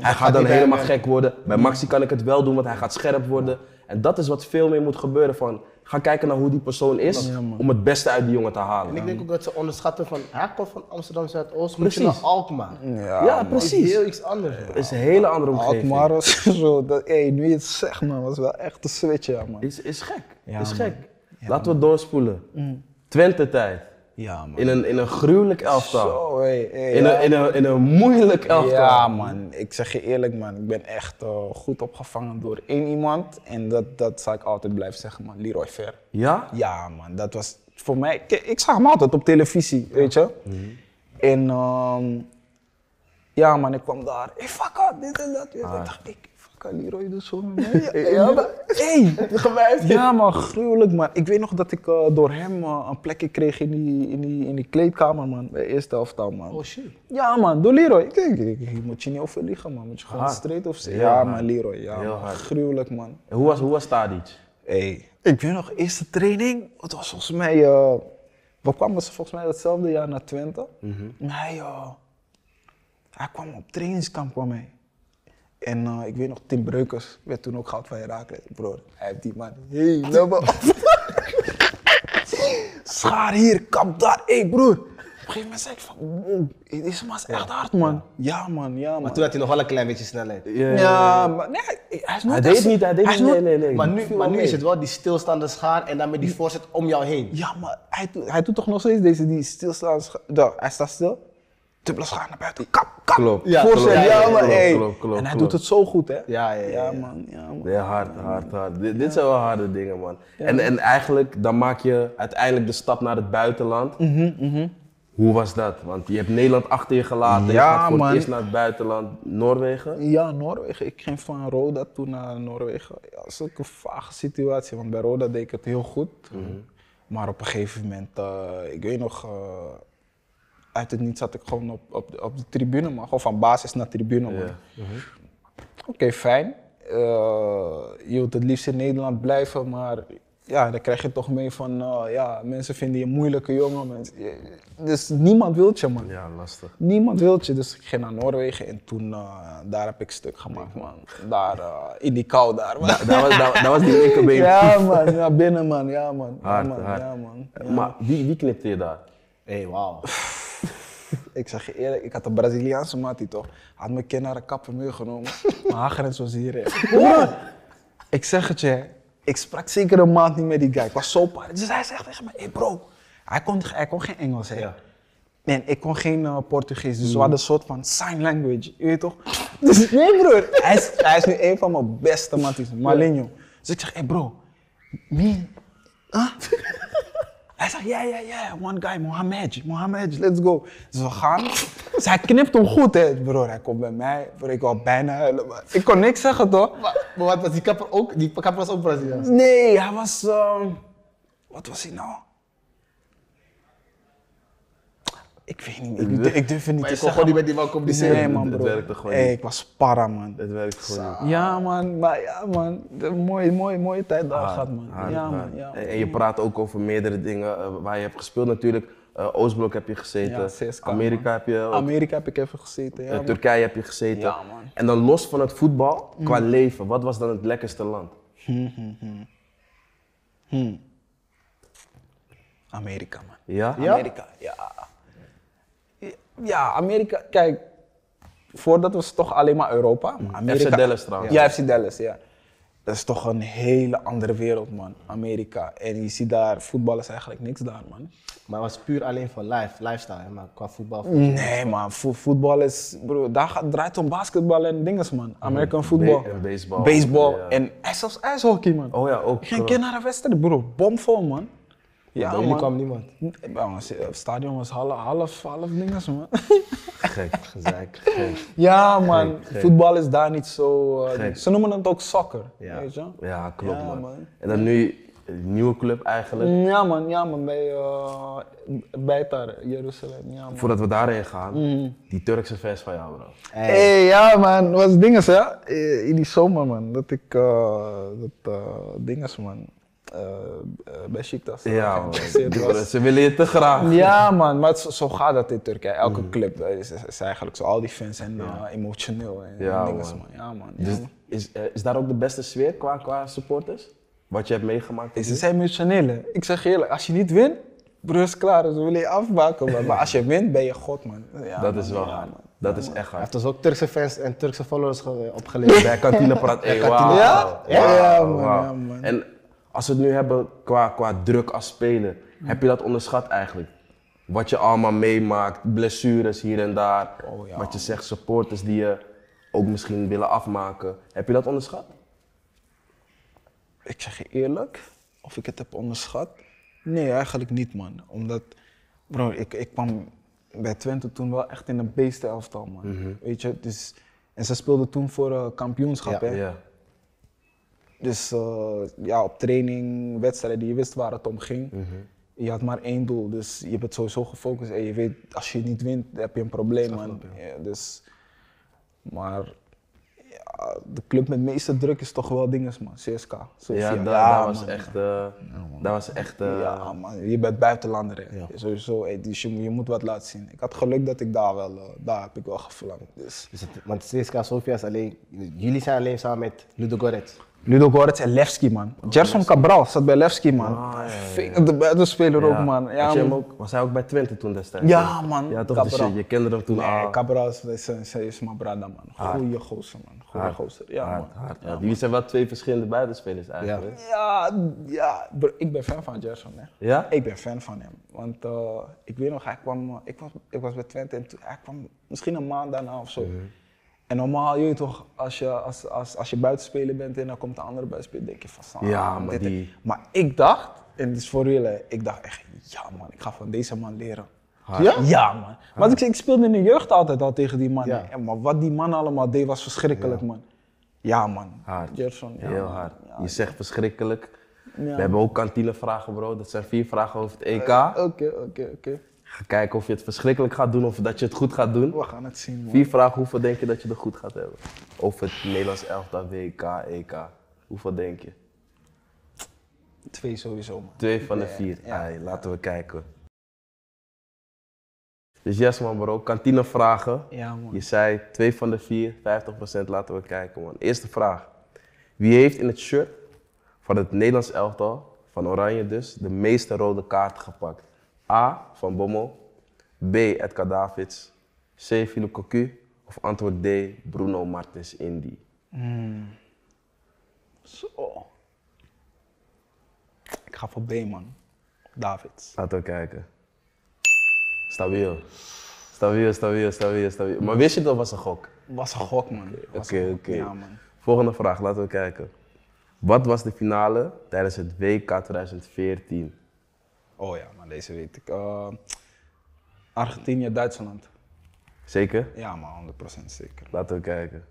A: hij gaat dan
B: niet bij
A: helemaal
B: hem,
A: gek worden. Bij Maxi kan ik het wel doen, want hij gaat scherp worden. En dat is wat veel meer moet gebeuren van, ga kijken naar hoe die persoon is, om het beste uit die jongen te halen.
B: En ik denk ook dat ze onderschatten van, hij komt van Amsterdam Zuidoost, moet je naar
A: Precies.
B: Alkmaar.
A: Ja,
B: Dat is
A: precies.
B: heel iets anders. man.
A: Het is een hele andere omgeving.
C: Alkmaar Ah, was zo, dat, hey, nu je het zegt man, was wel echt een switch ja man.
A: Is, is gek.
C: Ja,
A: is
C: man.
A: gek. Laten we doorspoelen. Twente-tijd.
C: Ja man.
A: In een, in een gruwelijk elftal.
C: Zo, hey, hey,
A: In,
C: ja.
A: een, in, een, in een moeilijk elftal.
C: Ja man, ik zeg je eerlijk man, ik ben echt eh, goed opgevangen door één iemand en dat, dat zal ik altijd blijven zeggen man, Leroy Ver.
A: Ja?
C: Ja man, dat was voor mij, ik, ik zag hem altijd op televisie, weet je. En ehm, ja man, ik kwam daar, hey fuck up, dit en dat. weet je. Ik dacht, ik, fuck up, Leroy doet zo met mij. Ja, Ah. ja, maar- hey,
B: Gewijfd.
C: Ja, man, gruwelijk, man. Ik weet nog dat ik eh, door hem eh, een plekje kreeg in die, in, die, in die kleedkamer, man. Bij eerste helftal, man.
B: Oh shit.
C: ja, man, door Leroy. Ik denk, ik- je moet je niet over liegen, man. Moet je gewoon
A: Hard.
C: straight of ze.
A: Heel
C: Ja,
A: hard.
C: man, Leroy. Ja,
A: Heel
C: man.
A: hard.
C: gruwelijk, man.
A: En Hoe was, hoe was Tadic?
C: Hey. Ik weet nog, eerste training, het was volgens mij, eh, we kwamen ze volgens mij hetzelfde jaar naar
A: Mhm.
C: Twente. Maar hij, eh, hij kwam op trainingskamp kwam hij. En eh, ik weet nog, Tim Breukers werd toen ook gehaald van Herakles. Broer, hij heeft die man helemaal Schaar hier, kap daar. Hé broer. Op een gegeven moment zei ik van, wow, deze man is echt hard man. Ja man, ja man.
B: Maar toen had hij nog wel een klein beetje snelheid.
A: Ja,
C: Ja, maar nee, hij is nooit
A: Hij
C: echt
A: deed
C: zo-
A: niet, hij deed
C: is
A: niet.
C: nooit-
A: Nee, nee, nee.
B: Maar
A: Viel
B: nu,
A: wel
B: maar nu
A: mee.
B: is het wel die stilstaande schaar en dan met die voorzet om jou heen.
C: Ja, maar hij, doet- hij doet toch nog steeds deze die stilstaan. scha- Daar, hij staat stil. Dubbele schaar naar buiten. Kap, kap.
A: Klopt.
C: Ja,
B: Ja,
C: Voorzet,
B: klopt.
C: ja,
B: Ja, ja,
C: maar
A: klopt,
C: hey.
A: klopt, klopt,
C: En hij
A: klopt.
C: doet het zo goed, hè?
B: Ja, ja, ja, ja.
C: man. Ja, man.
A: Ja, hard, hard, hard. Dit, dit zijn wel harde dingen, man. En, en eigenlijk, dan maak je uiteindelijk de stap naar het buitenland.
C: Mhm,
A: Hoe was dat? Want je hebt Nederland achter je gelaten. je
C: Ja,
A: gaat voor
C: man.
A: het eerst naar het buitenland. Noorwegen.
C: Ja, Noorwegen. Ik ging van Roda toen naar Noorwegen. Ja, dat is ook een vage situatie, want bij Roda deed ik het heel goed.
A: Mhm.
C: Maar op een gegeven moment, eh, ik weet nog, eh, uit het niets zat ik gewoon op, op, de, op de tribune, maar gewoon van basis naar tribune. man.
A: Ja.
C: Oké, fijn. Eh, je wilt het liefst in Nederland blijven, maar ja, dan krijg je toch mee van, eh, ja, mensen vinden je een moeilijke jongen. Mensen, je- dus niemand wilt je, man.
A: Ja, lastig.
C: Niemand wil je, dus ik ging naar Noorwegen en toen, eh, daar heb ik stuk gemaakt, man. Daar, eh, in die kou daar, man.
A: Dat was, dat, dat was die linkerbeen.
C: Ja, man, ja, binnen, man, ja, man.
A: Hard,
C: ja, man,
A: hard.
C: ja, man. Ja.
A: Maar wie, wie knipte je daar?
B: Hé, hey, wauw.
C: Ik zeg je eerlijk, ik had een Braziliaanse maat die toch, had mijn kind naar de kapper meegenomen, maar haar grens was hier, hè. Ik zeg het je, hè. ik sprak zeker een maand niet met die guy, ik was zo paard. Dus hij zegt tegen mij, hé bro, hij kon, hij kon geen Engels, hè.
B: Ja.
C: Nee, ik kon geen eh, Portugees, dus we hadden een soort van sign language, je weet toch? Dus nee broer, hij is, hij is nu een van mijn beste matties, Malinho. Dus ik zeg, hé bro, me, huh? Hij zegt, ja, ja, ja, one guy, Mohamed, Mohamed, let's go. Dus we gaan. Dus hij knipt hem goed, hè. Broer, hij komt bij mij, broer, ik wou bijna huilen, maar ik kon niks zeggen, toch?
B: Maar, maar wat was die kapper ook? Die kapper was ook Braziliaans.
C: Nee, hij was. ehm, wat was hij nou? Ik weet niet. Ik, durf- ik durf het niet
B: Maar
C: te
B: je
C: zeggen.
B: kon gewoon niet met die
C: man.
B: man communiceren.
C: Nee, man,
A: Het- het
C: bro.
A: werkte gewoon
C: Hey,
A: niet.
C: ik was para, man.
A: Het werkt gewoon
B: Ah.
A: niet.
C: Ja, man. Maar ja, man. De mooie, mooie, mooie tijd daar
B: Ah,
C: gehad, man.
A: Hard,
C: ja,
A: hard.
C: man. Ja,
A: Ah, En en je praat ook over meerdere dingen eh, waar je hebt gespeeld natuurlijk. Eh, Oostblok heb je gezeten.
C: Ja, CSKA,
A: Amerika
C: man.
A: heb je ook
C: Amerika heb ik even gezeten. Ja,
A: Eh,
C: man.
A: Turkije heb je gezeten.
C: Ja, man. Mm.
A: En dan los van het voetbal, qua leven, wat was dan het lekkerste land?
C: Amerika, man.
A: Ja?
B: Ja?
C: Amerika, ja. Ja, Amerika, kijk, voordat was het toch alleen maar Europa. maar Amerika,
A: FC Mm. Dallas trouwens.
C: Ja, FC Dallas, ja. Dat is toch een hele andere wereld, man. Amerika. En je ziet daar, voetbal is eigenlijk niks daar, man.
B: Maar het was puur alleen voor life, lifestyle, hè, maar qua voetbal.
C: Nee, man. Vo- voetbal is, bro, daar gaat, draait het om basketbal en dinges, man. American voetbal.
A: Mm. en baseball.
C: Baseball.
A: Ja.
C: En en zelfs ijshockey, man.
A: Oh ja, ook.
C: Ik ging een keer naar de wedstrijd, bro. Bomvol, man. Ja,
B: Bij jullie kwam niemand.
C: Ja, maar Het eh, stadion was half, half, half dinges, man.
A: Gek.
B: Gezeik, gek.
C: Ja, man. Voetbal is daar niet zo... eh,
A: Gek.
C: ze noemen het ook soccer,
B: Ja.
C: weet je?
A: Ja, klopt
C: Ja,
A: man.
C: man. Mm.
A: En dan nu een nieuwe club eigenlijk.
C: Ja, man. Ja, man. Bij eh Beitar, Jeruzalem. Ja, man.
A: Voordat we daarheen gaan,
C: Mm.
A: die Turkse vers van jou bro.
C: Hey. ja, man. Dat was dinges, hè? Eh, In die zomer, man. Dat ik... eh dat eh dinges, man. Eh eh, bij Chictas.
A: Ja man,
C: geïnteresseerd
A: Die-
C: was.
A: ze willen je te graag.
C: Ja, man, maar zo, zo gaat dat in Turkije. Elke
A: Mm.
C: club eh, is, is eigenlijk zo. Al die fans zijn eh, emotioneel. En
A: Ja,
C: dinges,
A: man.
C: man. Ja, man. Ja,
A: Dus
C: man.
A: is, eh, is daar ook de beste sfeer qua, qua supporters? Wat je hebt meegemaakt?
C: Ze zijn emotioneel. hè. Ik zeg je eerlijk, als je niet wint, broer is klaar. Ze willen je afmaken. man. Maar als je wint, ben je God, man. Ja,
A: dat
C: man,
A: is wel
C: ja,
A: hard.
C: man.
A: Dat is echt
B: Hij heeft
A: hard.
B: ons ook Turkse fans en Turkse followers ge- eh, opgeleverd.
A: Bij kantine praat hey,
B: kantine.
A: wauw,
C: Ja?
A: wauw,
C: Ja, man,
A: wauw.
C: ja, man.
A: En als we het nu hebben qua, qua druk als speler,
C: Hmm.
A: heb je dat onderschat eigenlijk? Wat je allemaal meemaakt, blessures hier en daar.
C: Oh, ja,
A: wat je zegt, supporters die je ook misschien willen afmaken. Heb je dat onderschat?
C: Ik zeg je eerlijk, of ik het heb onderschat? Nee, eigenlijk niet, man. Omdat, bro, ik, ik kwam bij Twente toen wel echt in een beestenelftal, man.
A: Mhm.
C: Weet je, dus... En ze speelden toen voor eh, kampioenschap,
B: Ja,
C: hè? Dus eh, ja, op training, wedstrijden, je wist waar het om ging.
A: Mhm.
C: Je had maar één doel, dus je bent sowieso gefocust. En je weet, als je niet wint, dan heb je een probleem, man. Ja, dus, maar ja, ah, de club met meeste druk is toch wel dinges, man. CSK. Sofia.
A: Ja, daar daar was
C: man.
A: echt. eh daar was echt. eh,
C: Ja, man, je bent buitenlander. hè. Sowieso, hey, dus je, je moet wat laten zien. Ik had geluk dat ik daar wel, eh, daar heb ik wel gevlamd. Dus.
B: Dus het, want CSKA Sofia is alleen, jullie zijn alleen samen met Ludogorets.
C: Ludo Goretz en Levski, man.
A: Oh,
C: Gerson Cabral zat bij Levski, man.
A: Ah,
C: Vinger de buitenspeler ook, man.
A: Had
C: Ja,
A: je hem
C: man.
A: ook, was hij ook bij Twente toen destijds?
C: Ja, man.
A: Ja, toch? Dus
C: Cabral.
A: je, je kende hem toen al.
C: Nee, Cabral is, is, is, is mijn brada, man.
A: Ah.
C: Goeie gozer, man. Goeie gozer. Ja, man.
A: Hard, hard, hard. Jullie zijn wel twee verschillende buitenspelers eigenlijk.
C: Ja, ja bro, ik ben fan van Gerson, hè.
A: Ja?
C: Ik ben fan van hem. Want eh, ik weet nog, hij kwam, eh, ik, was, ik was bij Twente en toen, hij kwam misschien een maand daarna of zo.
A: Mhm.
C: En normaal, je weet toch, als je, als, als, als je buitenspeler bent en dan komt de andere buitenspeler, denk je van "Sam,
A: Ja, maar
C: dit en-"
A: die-
C: Maar ik dacht, en het is voor real, hè, ik dacht echt, ja man, ik ga van deze man leren.
A: Hard.
C: Ja? Ja man. Maar ik, ik speelde in de jeugd altijd al tegen die man.
B: Ja.
C: hè. En, maar wat die man allemaal deed was verschrikkelijk man. Ja man.
A: Hard.
C: Gerson, ja,
A: Heel
C: man.
A: hard.
C: Ja,
A: je zegt verschrikkelijk.
C: Ja.
A: We hebben ook kantinevragen, bro. Dat zijn vier vragen over het EK.
C: Oké, oké, oké.
A: Ga kijken of je het verschrikkelijk gaat doen of dat je het goed gaat doen.
C: We gaan het zien man.
A: Vier vragen, hoeveel denk je dat je er goed gaat hebben? Over het Nederlands elftal, WK, EK. Hoeveel denk je?
C: Twee sowieso man.
A: Twee van de vier.
C: ja.
A: Ai, laten we kijken. Dus yes man bro, kantine vragen.
C: Ja man.
A: Je zei twee van de vier, 50% laten we kijken man. Eerste vraag. Wie heeft in het shirt van het Nederlands elftal, van Oranje dus, de meeste rode kaarten gepakt? A. Van Bommel. B. Edgar Davids. C. Philip Cocu. Of antwoord D. Bruno Martens Indy.
C: Zo. Ik ga voor B man. Davids.
A: Laten we kijken. Stabiel. Stabiel, stabiel, stabiel, stabiel. Maar wist je dat was een gok?
C: Was een gok man. Oké,
A: Oké, oké.
C: Ja man.
A: Volgende vraag, laten we kijken. Wat was de finale tijdens het WK 2014?
C: Oh ja, maar deze weet ik. Eh, Argentinië, Duitsland.
A: Zeker?
C: Ja man, 100% zeker.
A: Laten we kijken.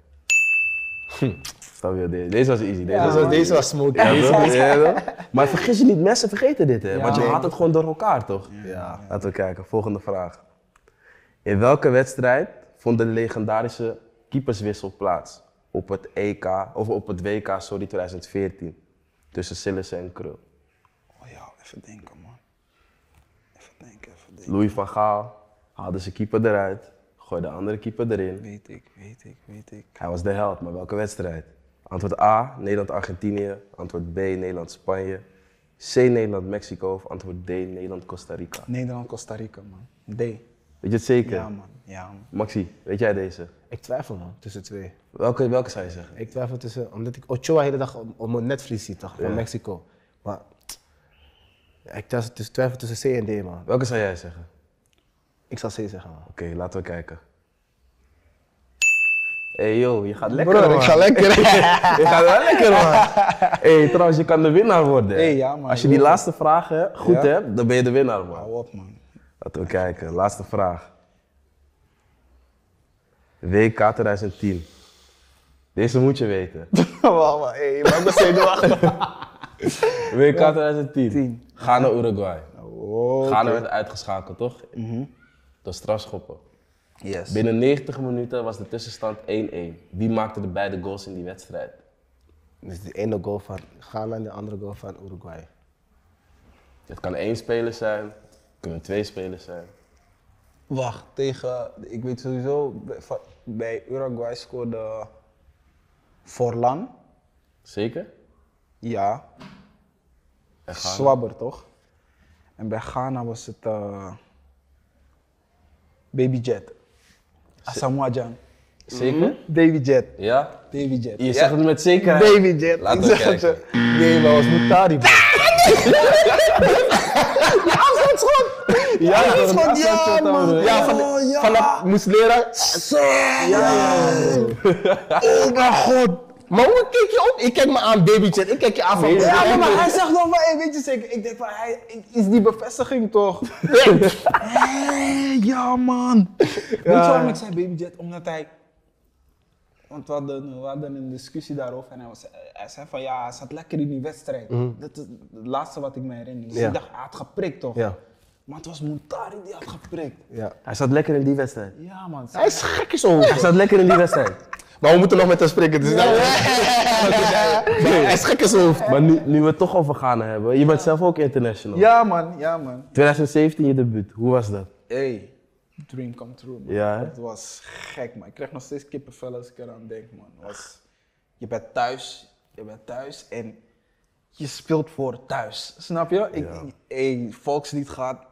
A: Hm, Stabiel, deze. Deze was easy. Deze was
B: Deze, deze was smoky.
A: Ja, toch? Ja, toch? Maar vergis je niet, mensen vergeten dit, hè?
C: Ja.
A: Want je
C: Nee.
A: haalt het gewoon door elkaar, toch?
B: Ja.
A: Laten we kijken, volgende vraag. In welke wedstrijd vond de legendarische keeperswissel plaats? Op het EK, of op het WK, sorry, 2014. Tussen Sillissen en Krul.
C: Oh ja, even denken man. Even denken, even denken.
A: Louis van Gaal haalde zijn keeper eruit, gooide de andere keeper erin.
C: Weet ik, weet ik, weet ik.
A: Hij was de held, maar welke wedstrijd? Antwoord A, Nederland-Argentinië. Antwoord B, Nederland-Spanje. C, Nederland-Mexico. Of antwoord D, Nederland-Costa Rica.
C: Nederland, Costa Rica man. D.
A: Weet je het zeker?
C: Ja man, ja man.
A: Maxi, weet jij deze?
B: Ik twijfel man, tussen twee.
A: Welke, welke zou je zeggen?
B: Ik twijfel tussen, omdat ik Ochoa de hele dag op, op mijn netvlies zie, toch? Van Mexico. Maar ja, ik twijfel tussen, twijfel tussen C en D, man.
A: Welke zou jij zeggen?
B: Ik zal C zeggen, man.
A: Oké, laten we kijken. hey yo, je gaat lekker
C: Bro,
A: man.
C: ik ga lekker.
A: Je gaat wel lekker man. hey, trouwens, je kan de winnaar worden. hè?
C: Hey, ja, man.
A: Als je die laatste vraag hè, goed
C: Ja.
A: hebt, dan ben je de winnaar man.
C: Hou op man.
A: Laten we kijken, laatste vraag. WK 2010. Deze moet je weten.
C: Wacht maar, hé, maar ik ben zenuwachtig.
A: WK 2010.
C: 10.
A: Ga naar Uruguay.
C: Oh.
A: Ghana werd uitgeschakeld, toch? Door strafschoppen.
C: Yes.
A: Binnen 90 minuten was de tussenstand 1-1. Wie maakte de beide goals in die wedstrijd?
B: Dus de ene goal van Ghana en de andere goal van Uruguay.
A: Het kan één speler zijn, het kunnen twee spelers zijn.
C: Wacht, tegen, ik weet sowieso, bij- van- bij Uruguay scoorde Forlan.
A: Zeker?
C: Ja.
A: En Ghana?
C: Swabber, toch? En bij Ghana was het eh Baby Jet. Asamoah Jan.
A: Zeker?
C: Baby Jet.
A: Ja?
C: Baby Jet.
A: Je zegt het met zekerheid.
C: Baby Jet.
A: Laten
C: ik
A: we
C: zeg het
A: kijken.
C: je. Nee, maar was Mutari, bro. Die afstandsschot! Ja,
A: dat is
C: afstandsschot,
A: goed, ja,
C: ja,
A: man.
C: man. Ja, van,
A: Oh,
C: de, van dat moest leren.
B: Oh mijn god! Maar hoe kijk je op? Ik kijk me aan, babytje. Ik kijk je aan van...
C: Ja, maar, maar hij zegt nog maar, hey, weet je zeker? Ik denk van, hij ik- is die bevestiging toch? Hé, ja man. Weet je waarom ik zei Baby Jet? Omdat hij... Want we hadden, we hadden een discussie daarover en hij, was, hij zei van ja, hij zat lekker in die wedstrijd. Dat is het laatste wat ik me herinner. Dus
B: Ja.
C: ik dacht, hij had geprikt toch?
B: Ja.
C: Maar het was Montari die had geprikt.
B: Ja.
A: Hij zat lekker in die wedstrijd.
C: Ja man.
B: Hij is gek is over.
A: Hij zat lekker in die wedstrijd.
B: Maar we moeten nog met hem spreken. Dus dat- Hij is gek in zijn hoofd.
A: Maar nu, nu we het toch over Ghana hebben, je bent zelf ook international.
C: Ja man, ja man.
A: 2017 je debuut, hoe was dat?
C: Hey, dream come true man.
A: Ja, hè?
C: Het was gek man. Ik krijg nog steeds kippenvel als ik eraan denk man. Het Was, je bent thuis, je bent thuis en je speelt voor thuis. Snap je? Ik,
A: Ja.
C: hey, Volkslied gaat.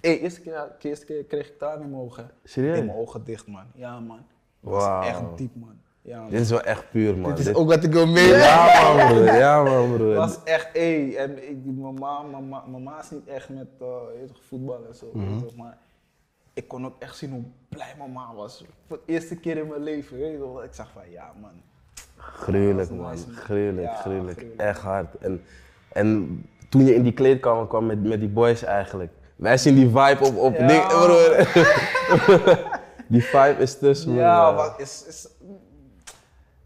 C: Hey, eerste keer, eerste keer kreeg ik daar in mijn ogen.
A: Serieus?
C: In mijn ogen dicht man. Ja man. Het
A: Wauw.
C: was echt diep man. Ja man.
A: Dit is wel echt puur, man.
B: Dit is
A: Dit-
B: ook wat ik wil mee.
A: Ja, man, broer. Ja, man, broer.
C: Het was echt, hé, en ik, mama, mama, mama is niet echt met eh, je weet toch, voetbal en zo, weet je toch, maar ik kon ook echt zien hoe blij mama was. Voor de eerste keer in mijn leven, weet je toch. Ik zag van, ja man,
A: Gruwelijk,
C: Dat was
A: man.
C: nice, man.
A: Gruwelijk,
C: Ja,
A: gruwelijk.
C: gruwelijk.
A: Echt hard. En, en toen je in die kleedkamer kwam met, met die boys eigenlijk. Wij zien die vibe op, op
C: Ja.
A: ding, broer. die vibe is tussen,
C: Ja,
A: man.
C: wat is, is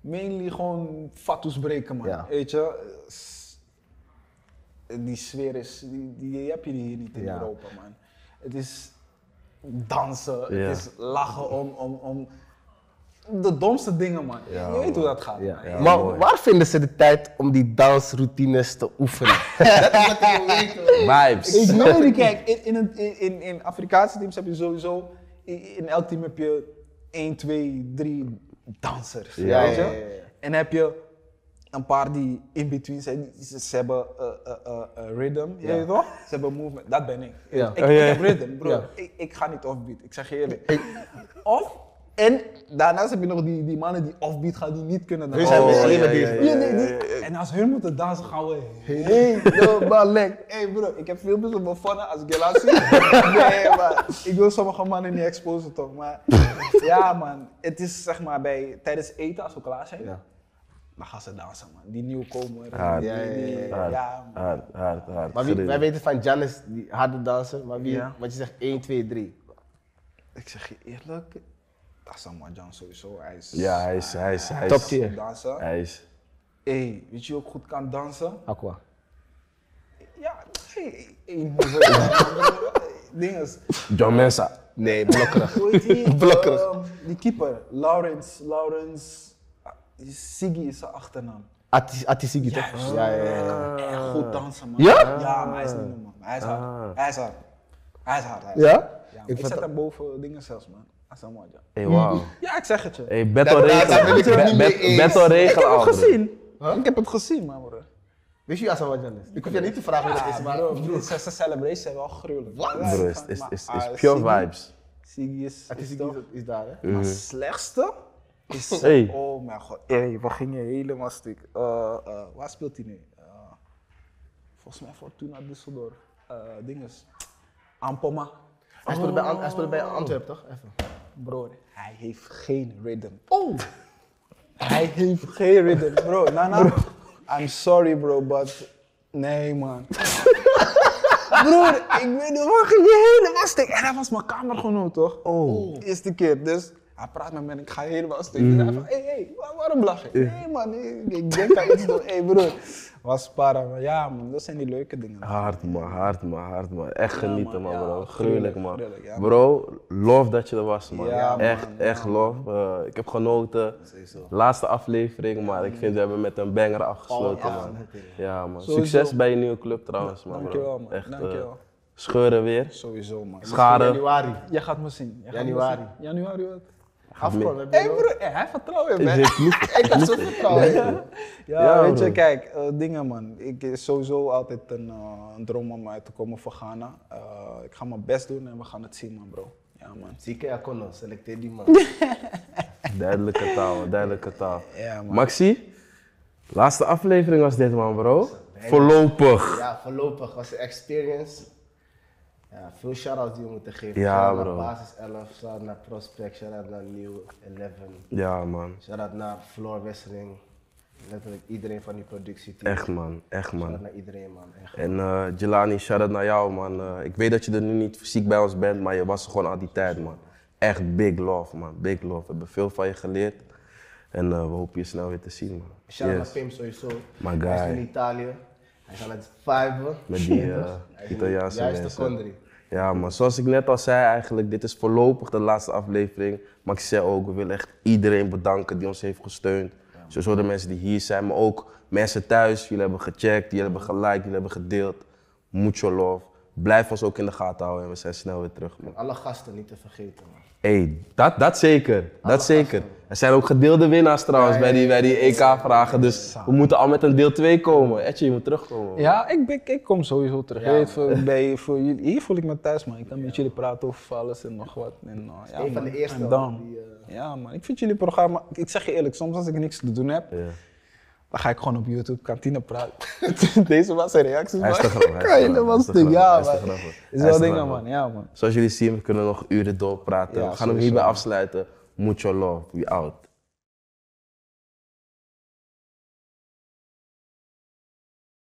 C: mainly gewoon fatsoes breken, man.
B: Ja.
C: Weet je, S- die sfeer is, die, die heb je hier niet in
B: Ja.
C: Europa, man. Het is dansen,
A: Ja.
C: het is lachen om, om, om de domste dingen, man. je weet hoe dat gaat. man.
A: ja,
B: maar
A: mooi.
B: waar vinden ze de tijd om die dansroutines te oefenen?
A: Vibes.
C: Ik weet niet, kijk, in, in, een- in, in, in Afrikaanse teams heb je sowieso, in, in elk team heb je 1, 2, 3 dansers,
A: Ja,
C: weet je?
B: ja, ja, ja.
C: En heb je een paar die in between zijn, die- ze, ze hebben eh, eh, eh, eh, rhythm, je weet toch? Ze hebben movement, dat ben ik.
B: Ja.
C: Ik,
A: Oh, ja,
C: ik heb
A: ja.
C: rhythm, bro.
B: Ja.
C: Ik, ik ga niet offbeat, ik zeg je eerlijk. Of, en daarnaast heb je nog die, die mannen die offbeat gaan, die niet kunnen dansen.
B: zijn we
A: Oh,
B: alleen maar
A: ja,
B: die-
A: ja, ja,
C: Ja,
A: ja,
C: nee,
A: ja,
C: die-
A: ja.
C: En als hun moeten dansen, gaan we helemaal lek. Hé hey bro, ik heb filmpjes op mijn phone als ik je laat zien. Nee, maar ik wil sommige mannen niet exposen toch, maar... Ja man, het is zeg maar bij, tijdens eten, als we klaar zijn,
B: Ja.
C: dan gaan ze dansen man. Die nieuwkomer,
A: Hard.
C: die,
B: Ja, ja,
C: die-
B: ja,
A: Hard,
C: ja, man.
A: hard, hard, hard.
B: Maar wie, wij
A: Gruwelijk.
B: weten van Janis, die harde danser, maar wie,
C: Ja.
B: wat je zegt, 1, 2, 3.
C: Ik zeg je eerlijk, Hassan Marjan sowieso, hij is...
A: Ja, hij is, hij is, hij is.
B: Top
C: hij is
B: tier.
C: goed dansen.
A: Hij is.
C: hey, weet je wie ook goed kan dansen?
B: Aqua.
C: Ja, hey, hey, hey, Ding is,
A: John Mensah.
B: Nee, blokkerig.
C: Hoe heet die?
B: Blokkerig.
C: Ehm, die keeper, Lawrence, Lawrence, ah, Siggy is zijn achternaam.
B: Atti- Attisigi toch? Ja, ja, ja. ja.
C: Echt goed dansen, man.
B: Ja?
C: Ja, maar hij is niet normaal. Hij is hard. Hij is hard. Hij is hard. hij is hard.
B: Ja?
C: Ja, maar
B: Ik
C: ik
B: vind
C: zet
B: dat-
C: hem boven dingen zelfs, man. Asamoah.
A: Hey, wauw.
C: Ja, ik zeg het je.
A: Hey, battle
B: Nou, Daar- daar
A: regel.
B: ben ik het niet mee eens.
A: Battle regel,
C: ik heb het
A: ouwe.
C: gezien. Ik heb het gezien, man, broer.
B: Wist je Asawa Janis? Ik hoef je niet te vragen wie dat is, maar...
C: Bro, ze ze celebration zijn wel gruwelijk. Wat?
A: Broer, is, is, is,
B: Ah,
A: is pure vibes.
C: Ah, Siggy is, is
B: Attisigi
C: toch...
B: is- is daar, hè?
C: Maar slechtste is.
A: Hey.
C: Oh mijn god, hey, we gingen helemaal stuk. Eh, eh, waar speelt hij nu? Eh, volgens mij Fortuna Düsseldorf. Eh dinges. Ampoma.
B: Hij speelde bij, Ant- hij speelde bij Antwerpen, toch? Even.
C: Broer, hij heeft geen rhythm. Oh! Hij heeft geen rhythm, bro. Nana, I'm sorry, bro, but. Nee, man. Broer, ik weet niet, waar ging je helemaal stuk? En hij was mijn kamergenoot, toch?
A: Oh.
C: Eerste keer, dus hij praat met me en ik ga helemaal stuk. En hij van, hé, hey, hey, wa- waarom lach je? Nee, man, ik, ik denk aan iets door. Hé, broer. Was para, man. Ja, man, dat zijn die leuke dingen.
A: Hard man, hard man, hard man. Echt genieten man,
C: man, ja,
A: bro. Gruwelijk
C: gruwelijk,
A: man.
C: gruwelijk, ja, man.
A: bro, love dat je er was man.
C: Ja,
A: echt,
C: man,
A: echt love. Eh, ik heb genoten. Laatste aflevering, maar ik vind we hebben met een banger afgesloten
B: ja,
A: man. Ja man.
C: Sowieso.
A: Succes bij je nieuwe club trouwens man.
C: dankjewel,
A: bro.
C: man.
A: Echt, eh,
C: Dankjewel.
A: scheuren weer.
C: Sowieso, man.
A: Scharen.
B: Januari.
C: Jij gaat me zien. Jij gaat me
B: Januari.
C: zien. Januari wat?
B: Afgelopen, heb
C: Hé
B: je nog?
C: broer, eh, hij vertrouwt in
A: Ik
C: mij.
A: zeg niet.
B: Ik had zo vertrouwen.
C: Ja,
A: Ja,
C: weet
A: broer.
C: je, kijk, eh, dingen man. Ik is sowieso altijd een, eh, een droom om uit te komen voor Ghana. Eh, ik ga mijn best doen en we gaan het zien, man, bro. Ja, man.
B: Zieke Akono, selecteer die man.
A: Duidelijke taal, man, duidelijke taal.
C: Ja, man.
A: Maxi, laatste aflevering was dit man bro. Voorlopig.
B: Ja, voorlopig was de experience. Ja, veel shout-outs die we moeten geven.
A: Ja,
B: Shout-out
A: bro.
B: naar Basis 11, shout-out naar Prospect, shout-out naar Nieuw 11.
A: Ja man.
B: Shout-out naar Floor Wessering. Letterlijk iedereen van die productieteam.
A: Echt man, echt man.
B: Shout-out naar iedereen, man. Echt.
A: En eh Jelani, shout-out naar jou, man. Eh, ik weet dat je er nu niet fysiek bij ons bent, maar je was er gewoon al die tijd, man. Echt big love, man. Big love. We hebben veel van je geleerd. En eh, we hopen je snel weer te zien, man.
B: Shout-out
A: Yes.
B: naar Pim sowieso.
A: My
B: Hij
A: guy.
B: is in Italië. Hij is aan het viben.
A: Met die eh,
B: Hij is in-
A: Italiaanse
B: Juist
A: mensen.
B: de country.
A: Ja, man. Zoals ik net al zei eigenlijk, dit is voorlopig de laatste aflevering. Maar ik zei ook, we willen echt iedereen bedanken die ons heeft gesteund. Sowieso de mensen die hier zijn, maar ook mensen thuis. Jullie hebben gecheckt, jullie hebben geliked, jullie hebben gedeeld. Mucho love. Blijf ons ook in de gaten houden en we zijn snel weer terug, man.
B: Alle gasten niet te vergeten, man.
A: hey, dat, dat zeker. Dat zeker. Er zijn ook gedeelde winnaars trouwens bij die, bij die EK-vragen. Dus we moeten al met een deel 2 komen. Etje, je moet terugkomen.
C: Ja, ik, ben- ik kom sowieso terug.
B: Ja,
C: Je weet, voor, bij, voor jullie, hier voel ik me thuis, man. Ik kan met jullie praten over alles en nog wat. En, uh, ja,
B: een van
C: man,
B: de eerste
C: I'm
B: al
C: down.
B: die, eh,
C: Ja, man. Ik vind jullie programma... Ik zeg je eerlijk, soms als ik niks te doen heb, dan ga ik gewoon op YouTube kantine praten. Deze was zijn reacties,
A: Hij is te
C: man.
A: grappig,
C: Ik
A: hij
C: ga
A: is te grappig,
C: helemaal
A: hij is te
C: stuk. Ja,
A: grappig, hij is te
C: man.
A: grappig.
C: Is
A: Hij is
C: wel
A: te
C: dingen,
A: grappig.
C: man. Ja, man.
A: Zoals jullie zien, we kunnen nog uren doorpraten.
C: Ja,
A: we gaan hem
C: sowieso,
A: hierbij afsluiten. Mucho love. We out.